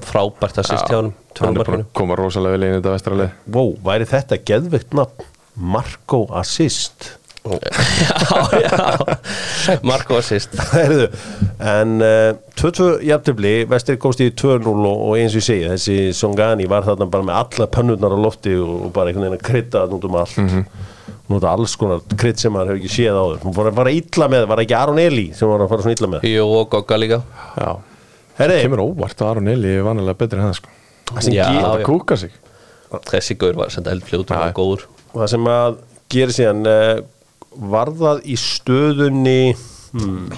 [SPEAKER 2] frábært að sýst hjá honum
[SPEAKER 3] Hann er búin
[SPEAKER 2] Tvönumarkinu
[SPEAKER 3] að koma rosalega vel inn í þetta vestralið
[SPEAKER 1] Vó, væri þetta geðveikt nafn Marco Assist
[SPEAKER 2] Já, já Marko var sýst
[SPEAKER 1] Heyrðu, en uh, 2-2 jafntefli, vestir komst í 2-0 og, og eins og ég segi, þessi Songani var þarna bara með alla pönnurnar á lofti og, og bara einhvern veginn að krydda nút um allt mm -hmm. nút alls konar krydd sem maður hefur ekki séð áður hún var að fara illa með, var ekki Aron Eli sem var að fara svona illa með
[SPEAKER 2] Jú, og Gogga líka
[SPEAKER 3] Já
[SPEAKER 1] Herri,
[SPEAKER 3] Kemur óvart að Aron Eli er vanalega betri en það sko
[SPEAKER 2] Já,
[SPEAKER 3] Það
[SPEAKER 2] já.
[SPEAKER 3] kúka sig
[SPEAKER 2] Þessi gaur var senda eldfljóð og
[SPEAKER 3] Já.
[SPEAKER 2] var góður
[SPEAKER 1] það sem að gera síðan eh, uh, var það í stöðunni hmm,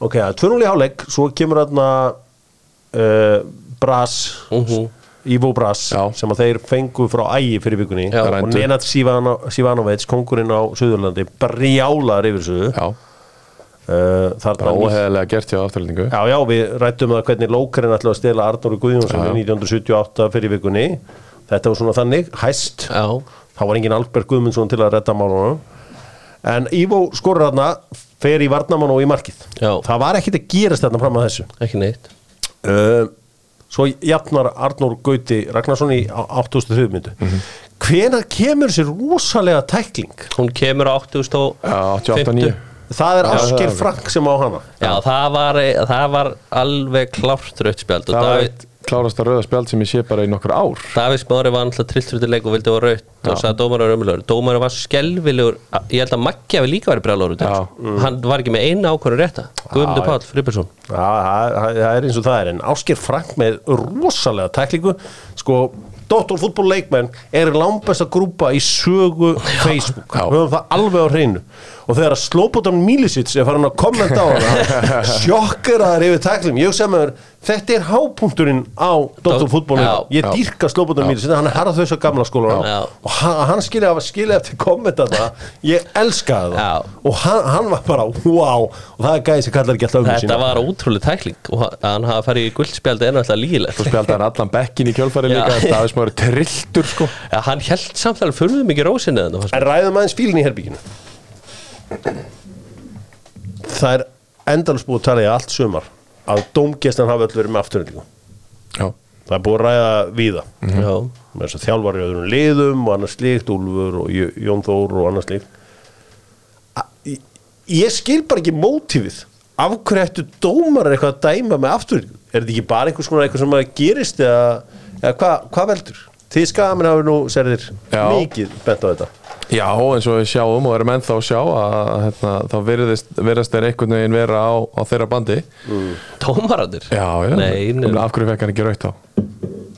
[SPEAKER 1] Ok, það er 2-0 í hálfleik, svo kemur þarna uh, Bras
[SPEAKER 2] Mhm.
[SPEAKER 1] Ivo Bras,
[SPEAKER 3] Já.
[SPEAKER 1] sem að þeir fengu frá ægi fyrir vikunni
[SPEAKER 2] Já.
[SPEAKER 1] og
[SPEAKER 3] Rændu.
[SPEAKER 1] Nenad Sivano- Sivanovic, kongurinn á Suðurlandi, brjálar yfir þessu
[SPEAKER 3] Já,
[SPEAKER 1] uh,
[SPEAKER 3] bara
[SPEAKER 1] Þarna
[SPEAKER 3] óheðilega gert hjá afturlendingu
[SPEAKER 1] Já, já, við rættum það hvernig lókarinn ætlaði að stela Arnóri Guðjónsson
[SPEAKER 3] Já, já.
[SPEAKER 1] 1978 fyrir vikunni Þetta var svona þannig, hæst
[SPEAKER 2] Já,
[SPEAKER 1] Þá var engin Albert Guðmundsson til að redda málunum En Ivo skorur þarna fer í varnamann og í markið
[SPEAKER 2] Já.
[SPEAKER 1] Það var ekkit að gerast þarna fram að þessu
[SPEAKER 2] ekki neitt
[SPEAKER 1] uh, Svo jafnar Arnór Gauti Ragnarsson í á- 83 myndu mm Hvenær kemur sér rosalega tækling?
[SPEAKER 2] Hún kemur á 80 stó
[SPEAKER 3] Já, 88-9
[SPEAKER 1] Það er
[SPEAKER 3] Já, það
[SPEAKER 1] Ásker
[SPEAKER 3] er-
[SPEAKER 1] Frank sem á hana
[SPEAKER 2] Já, það var, það var alveg klárt rauðspjald og
[SPEAKER 3] Það var
[SPEAKER 2] Davíð,
[SPEAKER 3] eitt klárasta rauða spjald sem ég sé bara í nokkur ár
[SPEAKER 2] Davís Mári var alltaf trilltrutileik og vildi að vera rautt og sagði að dómarinn var ömulegur Dómarinn var skelvilegur, ég held að Maggi hafi líka verið brjálagur út af
[SPEAKER 3] Já.
[SPEAKER 2] þessu. Hann var ekki með eina ákvörðu rétta Guðmundur Páll Fribersson
[SPEAKER 1] Já, það það- það er eins og það er en Ásker Frank með rosalega tæklingu sko, doktorfútból leikmenn er langbesta grúpa í sögu Facebook,
[SPEAKER 3] Já.
[SPEAKER 1] við höfum það alveg á hreinu og þegar að Slobodan Milicic er farin að kommenta á hana sjokkar að það er yfir tækling ég sem er, þetta er hápunkturinn á doktorfútból,
[SPEAKER 2] Já.
[SPEAKER 1] ég
[SPEAKER 3] Já.
[SPEAKER 1] dýrka Slobodan Milicic, hann er harð þess að gamla
[SPEAKER 2] Já.
[SPEAKER 1] skóla og hann, hann skilja að skilja eftir kommenta það, ég elskaði það
[SPEAKER 2] Já.
[SPEAKER 1] og hann, hann var bara, wow og það er gæði sem kallar ekki alltaf ömmu sína.
[SPEAKER 2] Þetta var ótrúlega tækling og hann- hann hafa farið í guldspjald er náttúrulega lígilegt
[SPEAKER 3] Þú spjaldaði allan bekkin í kjölfari
[SPEAKER 2] Já.
[SPEAKER 3] líka Það er smári trilltur sko
[SPEAKER 2] Já, hann held samt alveg fyrir mikið rósinni þannig fannst mér.
[SPEAKER 1] En ræðum aðeins fílinn í herbygginu Það er endalus búið að tala í allt sumar að dómgestan hafi öll verið með afturhendingu
[SPEAKER 3] Já,
[SPEAKER 1] Það er búið að ræða víða
[SPEAKER 3] Mhm.
[SPEAKER 2] Já,
[SPEAKER 1] með þess að þjálfari í öðrum liðum og annars slíkt, Úlfur og Jö- Jón Þór og annars slíkt A- ég- Ég skil bara ekki mótífið af hverju ættu dómar eitthvað að dæma með afturhendingu Er þetta ekki bara einhvers konar eitthvað sem að gerist eða, eða hvað, hvað veldur? Þið skamin hafi nú, serðir,
[SPEAKER 3] Já.
[SPEAKER 1] mikið bent á þetta
[SPEAKER 3] Já, eins og við sjáum og erum ennþá að sjá að hérna, þá virðist, virðast þeir einhvern veginn vera á, á þeirra bandi
[SPEAKER 2] dómarandir
[SPEAKER 3] Já, já,
[SPEAKER 2] Nei, nei.
[SPEAKER 3] af hverju fekk hann ekki raukt á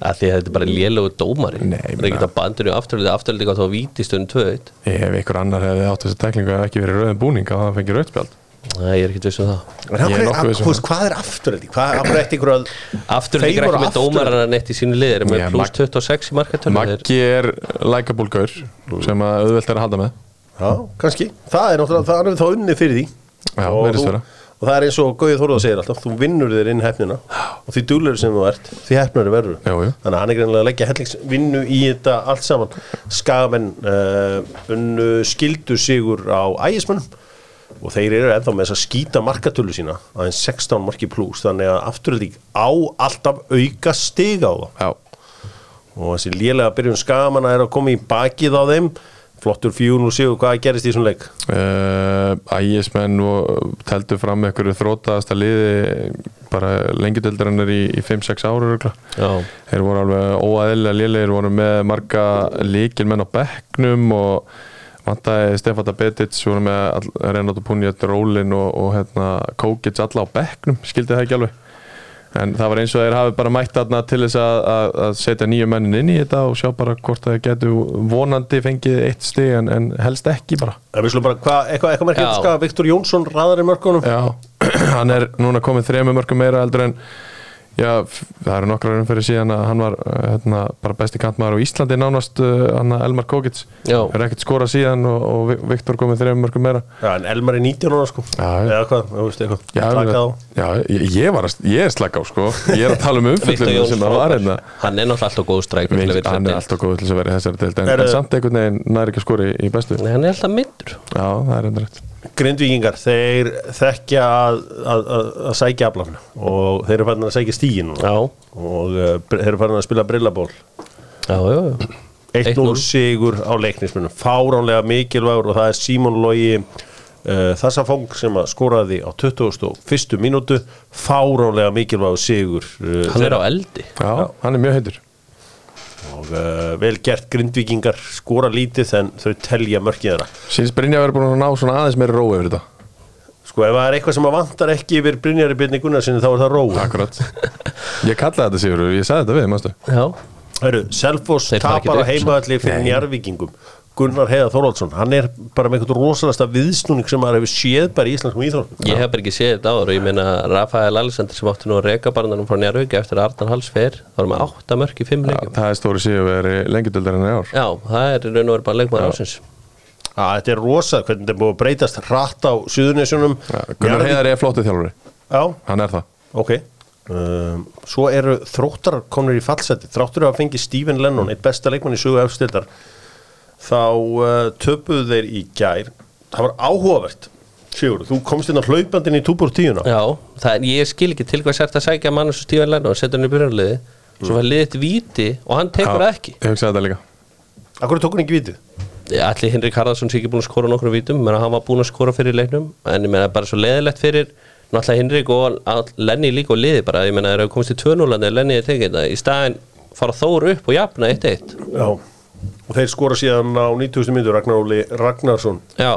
[SPEAKER 2] að því að þetta er bara lélugur dómari
[SPEAKER 3] Nei,
[SPEAKER 2] það er
[SPEAKER 3] meina-
[SPEAKER 2] ekki það bandur í afturlið afturlið gátt á víti stundum 2-1
[SPEAKER 3] Ef einhver annar hefði átt þessi tæklingu hefði ekki verið í rauðum búning að hann fengi rautt spjald
[SPEAKER 2] Nei, ég er ekkert viss um það
[SPEAKER 1] En af
[SPEAKER 3] Ég er
[SPEAKER 1] hverju,
[SPEAKER 3] nokkuð
[SPEAKER 1] af,
[SPEAKER 3] viss um
[SPEAKER 1] þú veist, hvað er afturhaldi? Hvað af hverju ætti ykkur að
[SPEAKER 2] Afturlið
[SPEAKER 1] Þeir
[SPEAKER 2] er ekki
[SPEAKER 1] voru
[SPEAKER 2] með dómarana neitt í sínu lið er með
[SPEAKER 3] Já,
[SPEAKER 2] pluss
[SPEAKER 3] Mag-
[SPEAKER 2] 26 í markatölu
[SPEAKER 3] Maggi er lækabólgaur sem að auðvelt er að halda með
[SPEAKER 1] Já, kannski Það er náttúrulega, það er við þá unni fyrir því
[SPEAKER 3] Já,
[SPEAKER 1] og,
[SPEAKER 3] virðist
[SPEAKER 1] þú-
[SPEAKER 3] vera.
[SPEAKER 1] og það er eins og Gauði Þorða segir alltaf Þú vinnur þér inn hefnina Og því dúlur sem þú ert, því hefnari verður
[SPEAKER 3] Jú, jú.
[SPEAKER 1] Þannig að hann er greinlega að leggja hellingsvinnu í þetta allt saman Skagamenn uh, unnu skildu sigur á ægismönnum og þeir eru ennþá með þess að skýta markatölu sína aðeins 16 marki pluss þannig að afturhaldi á alltaf auka stiga á það
[SPEAKER 3] Já,
[SPEAKER 1] og þessi lélega byrjun skamana er að koma í bakið á þeim flottur fjún og séu hvað gerist í svona leik
[SPEAKER 3] uh, ægismenn og teldu fram einhverju þrótaðasta liði bara lengjudeldarinnar í, í 5-6 ára örugglega.
[SPEAKER 2] Já.
[SPEAKER 3] þeir voru alveg óæðilega lélegir voru með marga líkilmenn á bekknum og vantaði Stefata Betic voru með all- Renato Punjat, Rólin og, og hérna, Kókits alla á bekknum skildi það ekki alveg en það var eins og þeir hafi bara mætt þarna til þess að, að, að setja nýju mennin inn í þetta og sjá bara hvort þeir getu vonandi fengið eitt stig en, en helst ekki bara
[SPEAKER 1] en við slum bara hvað, eitthvað, eitthvað merkið
[SPEAKER 2] Já.
[SPEAKER 1] skaka Viktor Jónsson raðar í mörkunum
[SPEAKER 3] Já, hann er núna komið þremur mörgum meira eldur en já, f- það eru nokkrar umferði síðan að hann var uh, hérna, bara besti kantmaður á Íslandi nánast, uh, hann að Elmar Kókits
[SPEAKER 2] Já.
[SPEAKER 3] er ekkert skorað síðan og, og Vi- Viktor komið þremur mörgum meira
[SPEAKER 1] Já, en Elmar er 19 ára sko
[SPEAKER 3] Já, já.
[SPEAKER 1] eða hvað, þú veist eitthvað
[SPEAKER 3] Já,
[SPEAKER 1] Slakað á.
[SPEAKER 3] já ég, ég, var að, ég er slagg á sko ég er að tala um
[SPEAKER 2] Viktor
[SPEAKER 3] umfyllunum
[SPEAKER 2] Jóns
[SPEAKER 3] sem það var hérna
[SPEAKER 2] frábær. hann er náttúrulega alltaf góð stræk
[SPEAKER 3] Við- hann er alltaf góð til þess að vera í þessari deild en,
[SPEAKER 1] Eru-
[SPEAKER 3] en samt einhvern veginn næri ekki að skori í bestu Já,
[SPEAKER 2] Nei, hann er alltaf myndur
[SPEAKER 3] það er endur rétt
[SPEAKER 1] Grindvíkingar, þeir þekkja að, að, að, að sækja aflafna og þeir eru farin að sækja stígin
[SPEAKER 2] Já,
[SPEAKER 1] og uh, br- þeir eru farin að spila brillaból
[SPEAKER 2] já, já, já.
[SPEAKER 1] 1-0
[SPEAKER 2] 1-0.
[SPEAKER 1] sigur á leiknismunum fáránlega mikilvægur og það er Símon Logi uh, Þassafong sem að skoraði á 21. mínútu fáránlega mikilvægur sigur uh,
[SPEAKER 2] Hann er á
[SPEAKER 1] þeirra.
[SPEAKER 2] eldi
[SPEAKER 3] Já, hann er mjög heitur
[SPEAKER 1] og uh, vel gert grindvíkingar skora lítið en þau telja mörkið þeirra
[SPEAKER 3] Sýnst Brynja verið búin að ná svona aðeins meira rói yfir þetta
[SPEAKER 1] sko ef það er eitthvað sem að vantar ekki yfir Brynjari Byrni Gunnarsinni þá er það rói
[SPEAKER 3] Akkurat Ég kallaði þetta Sigur, ég sagði þetta við, mástu
[SPEAKER 2] Já,
[SPEAKER 1] Hörru, Selfoss
[SPEAKER 2] Þeir fara ekki
[SPEAKER 1] tapar á
[SPEAKER 2] upp, sko.
[SPEAKER 1] heimaðalli fyrir njarvíkingum Gunnar Heiða Þorvaldsson hann er bara með einhvern rosalasta viðsnúning sem maður hefur séð bara í íslenskum íþróttum
[SPEAKER 2] Ég hef bara ekki séð þetta áður og ég meina Rafael Alessandri sem átti nú að reka barnanum frá Njárvík eftir að Arnar Hals fer þá erum við átta mörg í fimm leikjum
[SPEAKER 3] það er stóri síðuveri lengjadöldar en í ár
[SPEAKER 2] Já, það er í raun og verið bara leikmaður ásins
[SPEAKER 1] að þetta er rosa, hvernig þetta er búið að breytast hratt á suðunisjónum
[SPEAKER 3] Gunnar Heiðar er flóttið þjálfari,
[SPEAKER 1] Já,
[SPEAKER 3] hann er það
[SPEAKER 1] ok um, Svo eru þróttar konur í fallseti þráttur að fengi Stephen Lennon, eitt besta leikmann í sögu efstildar þá uh, töpuðu þeir í gær það var áhugavert Sigur, þú komst inn á hlaupandinn í túbúr tíuna
[SPEAKER 2] Já, það er, ég skil ekki til hvað sært að sækja mann eins og Stífan Lennon og setja hann í byrjanliði
[SPEAKER 3] Mm.
[SPEAKER 2] svo var liðið víti og hann tekur það ekki
[SPEAKER 3] ég hugsaði þetta líka
[SPEAKER 1] Akkur tók hann ekki vitið?
[SPEAKER 2] Allir Henrik Harðarsson sé ekki búin að skora nokkru vítum menn hann var búin að skora fyrir leiknum en ég meina bara svo leðilegt fyrir náttúrulega Henrik og all- Lenny líka og liði bara ég meina þeir eru komist í 2-0 en Lenny er tekið þetta í staðin fara Þór upp og jafna 1-1
[SPEAKER 1] Já Og þeir skora síðan á 90.000 myndur Ragnar Óli Ragnarsson
[SPEAKER 2] Já,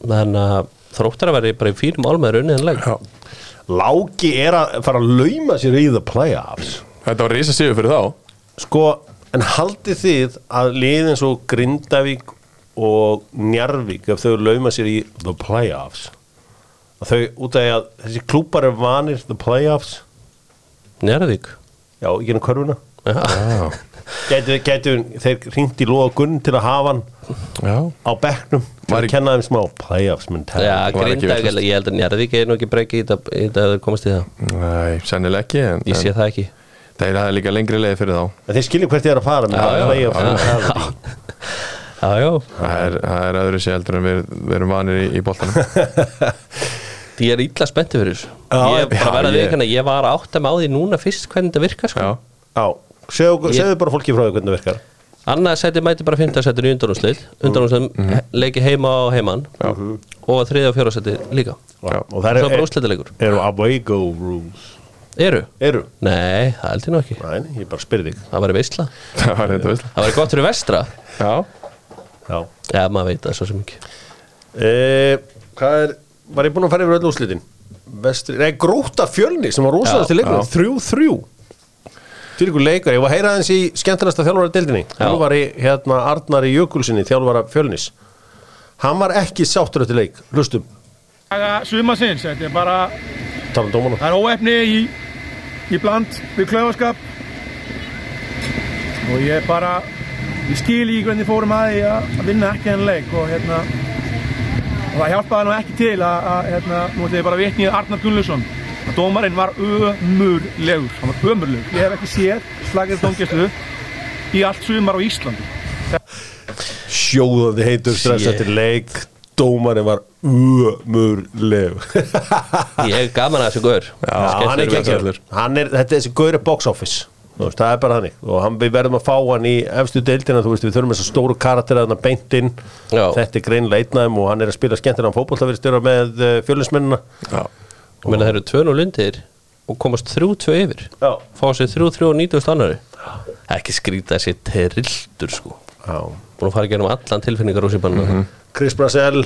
[SPEAKER 2] þannig að þróttar að vera bara í fínum álmeður unnið en leik
[SPEAKER 1] Láki er að fara að lauma sér í the playoffs
[SPEAKER 3] þetta var rísa síðu fyrir þá
[SPEAKER 1] Sko, en haldið þið að liðin svo Grindavík og Njarvík ef þau lauma sér í the playoffs að þau út af því að þessi klúpar er vanir the playoffs
[SPEAKER 2] Njárvík
[SPEAKER 1] Já, ekki henni körfuna
[SPEAKER 2] Já,
[SPEAKER 1] Gætu, gætu þeir hringt í loða gunn til að hafa hann
[SPEAKER 3] já.
[SPEAKER 1] á bekknum til að
[SPEAKER 3] Var í-
[SPEAKER 1] kenna þeim smá playoffs
[SPEAKER 2] Já
[SPEAKER 1] mentality
[SPEAKER 3] var ekki
[SPEAKER 2] Grindavík,
[SPEAKER 3] vitlaust.
[SPEAKER 2] ég held að Njárvík er nú ekki breyki í þetta í þetta að þau komast í það
[SPEAKER 3] Nei, sennilega ekki en,
[SPEAKER 2] Ég sé
[SPEAKER 3] en
[SPEAKER 2] það ekki
[SPEAKER 3] þeir hafði líka lengri leið fyrir þá
[SPEAKER 1] En þeir skilja hvert þið er að fara með
[SPEAKER 2] já,
[SPEAKER 1] það
[SPEAKER 2] já.
[SPEAKER 1] playoffs mentality
[SPEAKER 2] Já, já
[SPEAKER 3] það er, það er öðru sér heldur en við, við erum vanir í, í boltanum
[SPEAKER 2] Ég er illa spenntið fyrir þessu
[SPEAKER 1] Já,
[SPEAKER 2] Ég er bara
[SPEAKER 3] já,
[SPEAKER 2] að vera
[SPEAKER 3] ég-
[SPEAKER 2] við hérna Ég var átt að máði núna fyrst hvernig þetta virkar sko.
[SPEAKER 3] já,
[SPEAKER 1] Já, segðu,
[SPEAKER 2] Ég-
[SPEAKER 1] segðu bara fólki frá því hvernig það virkar
[SPEAKER 2] Annað sæti mæti bara 15 sætin í undanúslið Undanúslið leiki heima á heimann Og þriðja og fjóra sæti líka
[SPEAKER 3] Já.
[SPEAKER 1] Og það e-
[SPEAKER 2] Svo bara
[SPEAKER 1] er,
[SPEAKER 2] úrslitaleikur
[SPEAKER 1] eru away go rules
[SPEAKER 2] Eru?
[SPEAKER 1] Eru?
[SPEAKER 2] Nei, það held ég nú ekki
[SPEAKER 1] Næ, ég bara spyrir þig
[SPEAKER 2] Það var veistla
[SPEAKER 3] það var þetta veist
[SPEAKER 2] Það var gott fyrir vestra
[SPEAKER 3] já,
[SPEAKER 1] Já
[SPEAKER 2] Já, maður veit það svo sem ekki
[SPEAKER 1] e, Hvað er, var ég búinn að fara yfir öll úrslitin? Vestri, nei, gróta fjölni sem var rosaðast í leikunum,
[SPEAKER 3] já.
[SPEAKER 1] þrjú, þrjú Fyrir ykkur leikar, ég var að heyra aðeins í skemmtilegasta þjálfara deildinni
[SPEAKER 2] Já.
[SPEAKER 1] Þjálfari, hérna, Arnari Jökulsinni, þjálfara fjölnis Hann var ekki sáttur eftir leik, hlustum,
[SPEAKER 5] daga sumarsins. Þetta er bara,
[SPEAKER 1] talan dómana
[SPEAKER 5] það er óefni í, í bland við klaufaskap og ég bara, ég skil í hvernig fórum að því að að vinna ekki henni leik og hérna, og það hjálpaði nú ekki til að, að hérna, nú ætlum ég bara vitnið Arnar Gunnlaugsson að dómarinn var ömurlegur, hann var ömurlegur. Ég hef ekki séð slagið dómgæslu í allt sumar á Íslandi.
[SPEAKER 1] Sjóðandi heitur stress
[SPEAKER 2] Shit.
[SPEAKER 1] eftir leik Dómarinn var umurleg
[SPEAKER 2] Ég hef gaman að þessu gaur
[SPEAKER 1] Já, hann er
[SPEAKER 2] Skemmtilegur
[SPEAKER 1] geggjaður.
[SPEAKER 2] gaur.
[SPEAKER 1] Hann er, þetta er þessi gauri box office Þú veist, það er bara þannig og hann, við verðum að fá hann í efstu deildina þú veist við þurfum þess að stóru karakter að hann beint inn
[SPEAKER 2] Já.
[SPEAKER 1] þetta er greinlega einnaðum og hann er að spila skemmtina fótboll það verið stjóra með uh, fjölusmennina
[SPEAKER 3] já.
[SPEAKER 2] Ég meina það eru tvön og lundir og komast þrjú tvö yfir
[SPEAKER 1] Já.
[SPEAKER 2] Fá sér þrjú þrjú og nýtust annari Ekki skrýta sér terrildur sko Búin að fara að gera um allan tilfinningar úr sér banna
[SPEAKER 1] Chris Brassel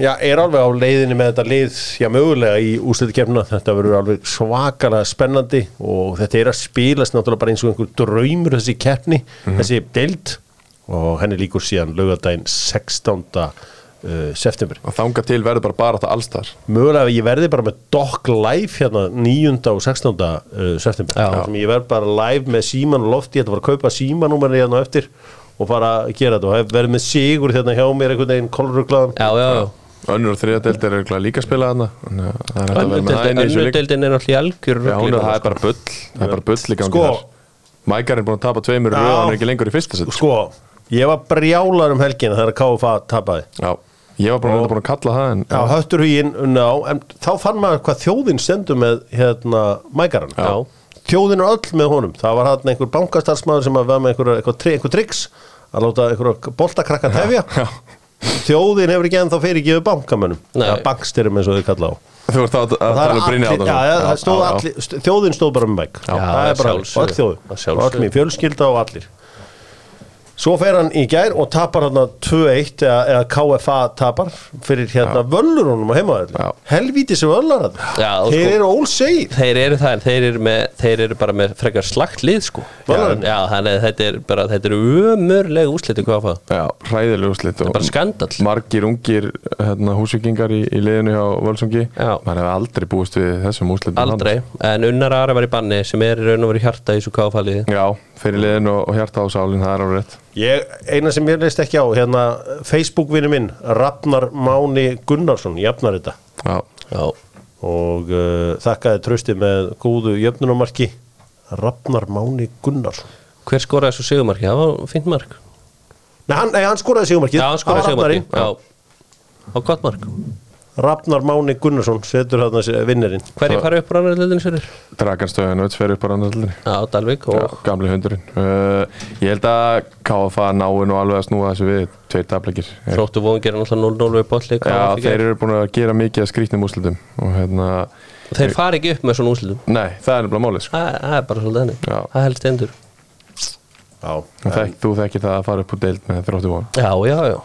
[SPEAKER 1] já, er alveg á leiðinni með þetta lið já, mögulega í úsliðkefna þetta verður alveg svakalega spennandi og þetta er að spilast náttúrulega bara eins og einhver draumur þessi keppni
[SPEAKER 2] Mhm.
[SPEAKER 1] þessi deild og henni líkur síðan laugardaginn 16. Uh, september
[SPEAKER 3] og þanga til verður bara bara þetta alls þar
[SPEAKER 1] mögulega að ég verði bara með Doc live hérna 9. og 16. Uh, september
[SPEAKER 2] Já.
[SPEAKER 1] Þar sem ég verð bara live með síman og lofti, ég ætla að fara að kaupa símanúmerið hérna á eftir og fara að gera þetta og hef verið með sigur hérna hjá mér einhvern veginn kolruglaðan
[SPEAKER 2] Já, já, já
[SPEAKER 3] önnur og þriða deildir eru örugglega líka að spila þarna þannig að það er hægt að vera með það inn í þessu
[SPEAKER 2] Önnu
[SPEAKER 3] líka
[SPEAKER 2] deildin er náttúrulega í sko. algjör
[SPEAKER 3] já, hún er, það er bara bull það er bara bull í gangi
[SPEAKER 1] Sko.
[SPEAKER 3] þar Mækar er búin að tapa tveimur
[SPEAKER 1] Já.
[SPEAKER 3] röð og hann er ekki lengur í fyrsta sitt
[SPEAKER 1] sko, ég var brjálar um helgina þegar KFA tapaði
[SPEAKER 3] já, ég var bara búin að kalla það en
[SPEAKER 1] Já, höttur huginn, ná, en þá fann maður hvað þjóðin stendur með hérna mækaran
[SPEAKER 2] Já.
[SPEAKER 1] Þjóðin er öll með honum, það var hann einhver bankastarfsmaður sem að vera með einhver, einhver, tri, einhver triks að láta einhver boltakrakka tefja
[SPEAKER 3] já.
[SPEAKER 1] Þjóðin hefur ekki ennþá fyrirgefið bankamönnum
[SPEAKER 2] Nei.
[SPEAKER 1] eða bankstyrum eins og þau kalla á
[SPEAKER 3] þú ert að, að
[SPEAKER 1] Það
[SPEAKER 3] tala
[SPEAKER 1] er
[SPEAKER 3] um Brynja
[SPEAKER 1] allir, já, já, það stóð allir, st- þjóðin stóð bara með bæk
[SPEAKER 2] Já,
[SPEAKER 1] það er bara,
[SPEAKER 2] að
[SPEAKER 1] og öll
[SPEAKER 2] sjálfsögðu,
[SPEAKER 1] þjóðin
[SPEAKER 2] að
[SPEAKER 1] og
[SPEAKER 2] sjálfsögðu.
[SPEAKER 1] öll mér fjölskylda og allir Svo fer hann í gær og tapar hann 2-1 eða, eða KFA tapar fyrir hérna völlurunum á heimaðalli
[SPEAKER 3] Já.
[SPEAKER 1] Helvíti sem völlar hann
[SPEAKER 2] Já, og
[SPEAKER 1] Þeir
[SPEAKER 2] sko-
[SPEAKER 1] eru ólsegir
[SPEAKER 2] þeir eru það en þeir eru, með, þeir eru bara með frekar slagt lið sko já,
[SPEAKER 1] Valur.
[SPEAKER 2] já, þannig að þetta er bara þetta eru umörlega úsliti hvað að fá
[SPEAKER 3] Já, hræðileg úrslit og
[SPEAKER 2] bara skandall.
[SPEAKER 3] Margir ungir hérna, húsvikingar í, í liðinu hjá Völsungi
[SPEAKER 2] Já.
[SPEAKER 3] Man hefur aldrei búist við þessum úrslitum
[SPEAKER 2] aldrei, en Unnar Ari var í banni sem er í raun og verið hjarta í þessu káfaliði
[SPEAKER 3] hans. Já, fyrir liðinu og, og hjarta á sálinn, það er alveg rétt
[SPEAKER 1] Ég, eina sem ég leist ekki á, hérna Facebook-vinu minn, Ragnar Máni Gunnarsson, jafnar þetta
[SPEAKER 3] Já,
[SPEAKER 2] já,
[SPEAKER 1] og uh, þakkaði trösti með góðu jöfnunumarki Ragnar Máni Gunnarsson
[SPEAKER 2] hver skoraði þessu sigumarki, það var fint mark
[SPEAKER 1] Nei, hann, nei, hann skoraði sigumarkið
[SPEAKER 2] já, hann skoraði
[SPEAKER 1] Það var
[SPEAKER 2] sigumarki,
[SPEAKER 1] Ragnarinn.
[SPEAKER 2] já og gott mark,
[SPEAKER 1] Ragnar Máni Gunnarsson setur hann þessi vinnerinn
[SPEAKER 2] hverju fara upp rannar liðin sér
[SPEAKER 3] Draganstöðin og fyrir upp á rannallinu
[SPEAKER 2] já, Dalvik
[SPEAKER 3] Já,
[SPEAKER 2] og
[SPEAKER 3] gamli hundurinn uh, Ég held að KFA nái nú alveg að snúa þessu við Tveir tapleikir Já,
[SPEAKER 2] þróttu vóngir náttúrulega 0-0 við bolli KF í
[SPEAKER 3] þeir
[SPEAKER 2] gær.
[SPEAKER 3] eru búin að gera mikið að skrýtnum úrslitum og hérna,
[SPEAKER 2] þeir fara ekki upp með svona úslitum
[SPEAKER 3] nei, það er nefnilega málið sko.
[SPEAKER 2] það það er bara svolítið henni,
[SPEAKER 3] Já.
[SPEAKER 2] það helst endur
[SPEAKER 1] Já,
[SPEAKER 3] Þek, Þú þekkir það að fara upp úr deild með þróttu von
[SPEAKER 2] já, já, já,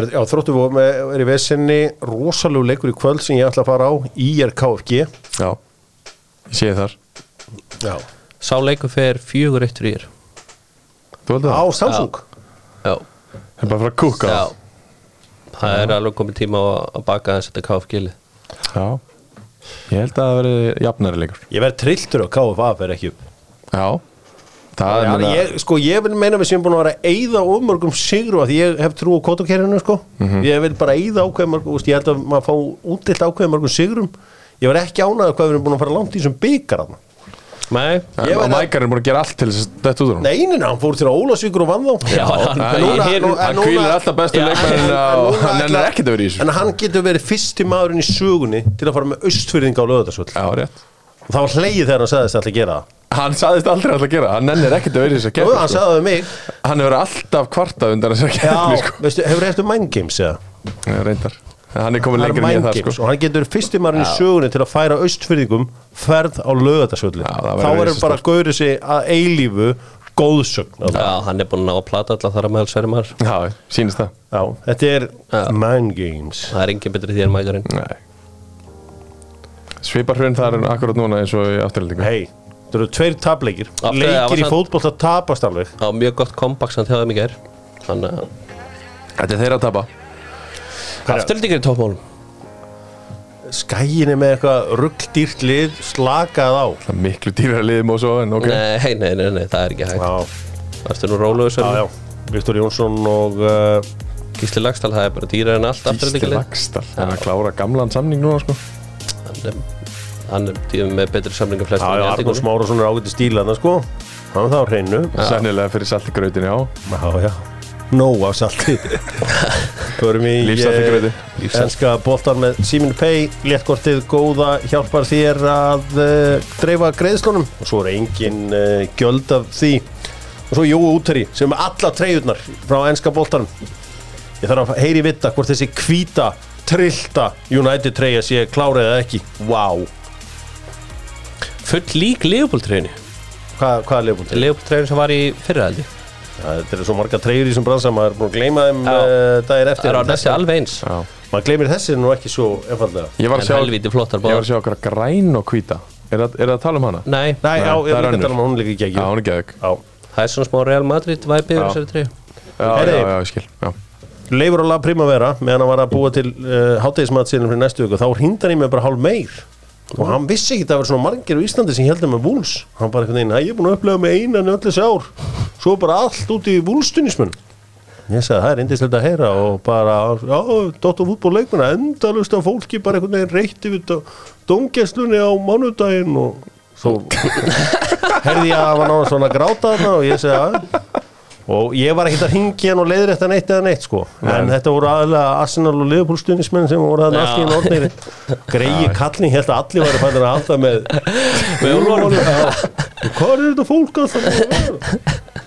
[SPEAKER 1] Er, já, þróttu við er í vesenni rosalegu leikur í kvöld sem ég ætla að fara á IRKFG
[SPEAKER 3] Já, ég sé þar
[SPEAKER 1] Já.
[SPEAKER 2] sá leikur fer fjögur eittur í þér
[SPEAKER 3] Þú heldur
[SPEAKER 1] á
[SPEAKER 3] það?
[SPEAKER 1] Samsung
[SPEAKER 2] já
[SPEAKER 3] Það er bara að fara að kúka
[SPEAKER 2] Já Það er alveg komið tíma á að baka þess að þetta KFG-lið
[SPEAKER 3] Já, ég held að það veri jafnari leikur
[SPEAKER 1] Ég verð trilltur á KFA fyrir ekki upp
[SPEAKER 3] Já, það
[SPEAKER 1] Já,
[SPEAKER 3] er meina-
[SPEAKER 1] ég, Sko, ég vil meina við sem búin að vera að eyða ofmörgum sigru að ég hef trú á kotokerinu sko.
[SPEAKER 2] Mhm.
[SPEAKER 1] Ég vil bara eyða ákveðmörgum úst, Ég held að maður fá útilt ákveðmörgum sigrum Ég var ekki ánægður hvað við erum búin að fara langt í þessum byggar hann
[SPEAKER 2] Nei
[SPEAKER 3] En-
[SPEAKER 1] ég verð
[SPEAKER 3] Og
[SPEAKER 1] að-
[SPEAKER 3] Mækar er búin að gera allt til þess að þetta út úr hún
[SPEAKER 1] Neinin, hann fór til að Ólasvíkur og vann þá
[SPEAKER 2] Já, hann-
[SPEAKER 1] núna-
[SPEAKER 2] ég-
[SPEAKER 1] nú- en
[SPEAKER 3] Hann
[SPEAKER 1] núna-
[SPEAKER 3] kvílir alltaf bestu
[SPEAKER 2] Já,
[SPEAKER 3] leikmærin og
[SPEAKER 1] núna
[SPEAKER 3] hann
[SPEAKER 1] ætlar-
[SPEAKER 3] er ekkert að vera í þessu
[SPEAKER 1] En hann getur verið fyrsti maðurinn í sögunni til að fara með austfyrðinga á lögðarsvöld
[SPEAKER 3] Já, rétt
[SPEAKER 1] og það var hlegið þegar hann sagðist alltaf að gera það
[SPEAKER 3] Hann saðist aldrei alltaf að gera, það. hann nennir ekkert að vera í þess
[SPEAKER 1] Jú,
[SPEAKER 3] að keppni
[SPEAKER 1] hann
[SPEAKER 3] sko.
[SPEAKER 1] sagði það við mig
[SPEAKER 3] Hann hefur alltaf kvartað undan þess að keppni
[SPEAKER 1] Já,
[SPEAKER 3] sko.
[SPEAKER 1] veistu, hefur eftir mindgames eða
[SPEAKER 3] Já, Eh, reyndar Hann er komin
[SPEAKER 1] Það er
[SPEAKER 3] lengur en ég þar
[SPEAKER 1] mindgames
[SPEAKER 3] sko.
[SPEAKER 1] og hann getur verið fyrsti maðurinn í sögunni til að færa austfyrðingum ferð á lögðarsvöld
[SPEAKER 3] Já, það
[SPEAKER 1] þá
[SPEAKER 3] sko. væri
[SPEAKER 1] verður
[SPEAKER 3] risastórt.
[SPEAKER 1] bara að gauri sig að eilífu góðsögn
[SPEAKER 2] Já, hann er búinn að ná að plata alltaf þar að meðal sverjum hans
[SPEAKER 3] Já, sýnist það
[SPEAKER 1] Já, þetta er mindgames
[SPEAKER 2] Það er engin betri því en mækarinn
[SPEAKER 3] Nei Sviparhrun þar er akkurat núna eins og í afturhaldingu
[SPEAKER 1] Hei, þetta eru tveir tapleikir
[SPEAKER 2] Af-
[SPEAKER 1] leikir í
[SPEAKER 2] af-
[SPEAKER 1] fótboll að tapast alveg
[SPEAKER 2] Það var mjög gott kompakt sem þjáðum í gær uh, Þannig að
[SPEAKER 3] Þetta er þeirra að tapa
[SPEAKER 2] Afturlítingar í toppmálum
[SPEAKER 1] skæin er með eitthvað ruggdýrt lið slakað á
[SPEAKER 3] Það er miklu dýrara liðum og svo en ok
[SPEAKER 2] nei, nei, nei, nei, það er ekki hægt
[SPEAKER 1] Já,
[SPEAKER 2] Það ertu nú róluðu
[SPEAKER 1] já,
[SPEAKER 2] sverjum
[SPEAKER 1] já Viktor Jónsson og uh,
[SPEAKER 2] Gísli Lagstall, það er bara dýrar en allt
[SPEAKER 3] Gísli
[SPEAKER 2] afturlítingar
[SPEAKER 3] Lagstall Það er að klára gamlan samning núna sko
[SPEAKER 2] Hann er tíðum með betri samlingar flest
[SPEAKER 1] já, já, Arnur Smárasson er ágætt í stílaðna sko hann er það á hreinu
[SPEAKER 3] Sennilega fyrir salti grautin, já
[SPEAKER 1] Já, já Nóa salti Förum í eh,
[SPEAKER 3] Lífsalti grauti
[SPEAKER 1] Enska boltar með Simin Pay Léttkortið góða hjálpar þér að uh, dreifa greiðslunum og svo er engin uh, gjöld af því og svo Jóu Úteri sem er með alla treyjurnar frá enska boltarn Ég þarf að heyri vita hvort þessi hvíta, trillta United treyja sé klárið eða ekki Vá, wow.
[SPEAKER 2] Full lík Leopold-treyni
[SPEAKER 1] hvað, hvað er leifbúl til?
[SPEAKER 2] Leopold-treyni sem var í fyrrahaldi
[SPEAKER 1] Þetta eru svo marga treyjur í þessum bransa maður er búin að gleyma þeim
[SPEAKER 2] Já.
[SPEAKER 1] uh, dagir
[SPEAKER 2] Það
[SPEAKER 1] eftir
[SPEAKER 2] er á
[SPEAKER 1] En
[SPEAKER 2] næstu alveg eins
[SPEAKER 3] Já
[SPEAKER 1] maður gleymir þessi nú ekki svo einfallega
[SPEAKER 3] Ég var
[SPEAKER 2] En
[SPEAKER 3] að sjá Ég
[SPEAKER 2] helviti flottar
[SPEAKER 3] var
[SPEAKER 2] báðar
[SPEAKER 3] að sjá okkar græn og hvíta Er það er það að tala um hana?
[SPEAKER 2] Nei,
[SPEAKER 1] Nei, já, ég
[SPEAKER 3] það er
[SPEAKER 1] er líka að
[SPEAKER 3] önnur.
[SPEAKER 1] tala um að hún líka ekki
[SPEAKER 3] Já,
[SPEAKER 1] ekki
[SPEAKER 3] hún er geðug
[SPEAKER 1] Já,
[SPEAKER 2] það er svona smá Real Madrid væpið
[SPEAKER 3] Já.
[SPEAKER 2] yfir þessari treyju
[SPEAKER 3] Já,
[SPEAKER 1] Heyrðu.
[SPEAKER 3] já, já, ég skil já.
[SPEAKER 1] Leifur og lag Primavera meðan hann var að búa til uh, hátegismatsilin fyrir næstu viku þá hrindan ég mig bara hálf meir og hann vissi ekki að það var svona margir á Íslandi sem heldur með vúls hann bara einhvern veginn, "Æ, ég er búin að upplega með einan í öll þessi ár svo bara allt út í vúlstunismun ég sagði, það er indislegt að heyra og bara, já, Dóttur fútból leikmuna endalust af fólki bara einhvern veginn reytti við domgæslunni á mánudaginn og svo herði ég að hann á svona að gráta þarna og ég sagði, "Æ, og ég var ekkert að ringja hann og leiðrétta neitt eða neitt sko en þetta voru aðalega Arsenal og Liverpool stuðnismenn sem voru aðeins allt í einu orðnir greiði kallni, ég held að allir væri fættir að halda með með úlvarum hvað er þetta fólk alltaf að vera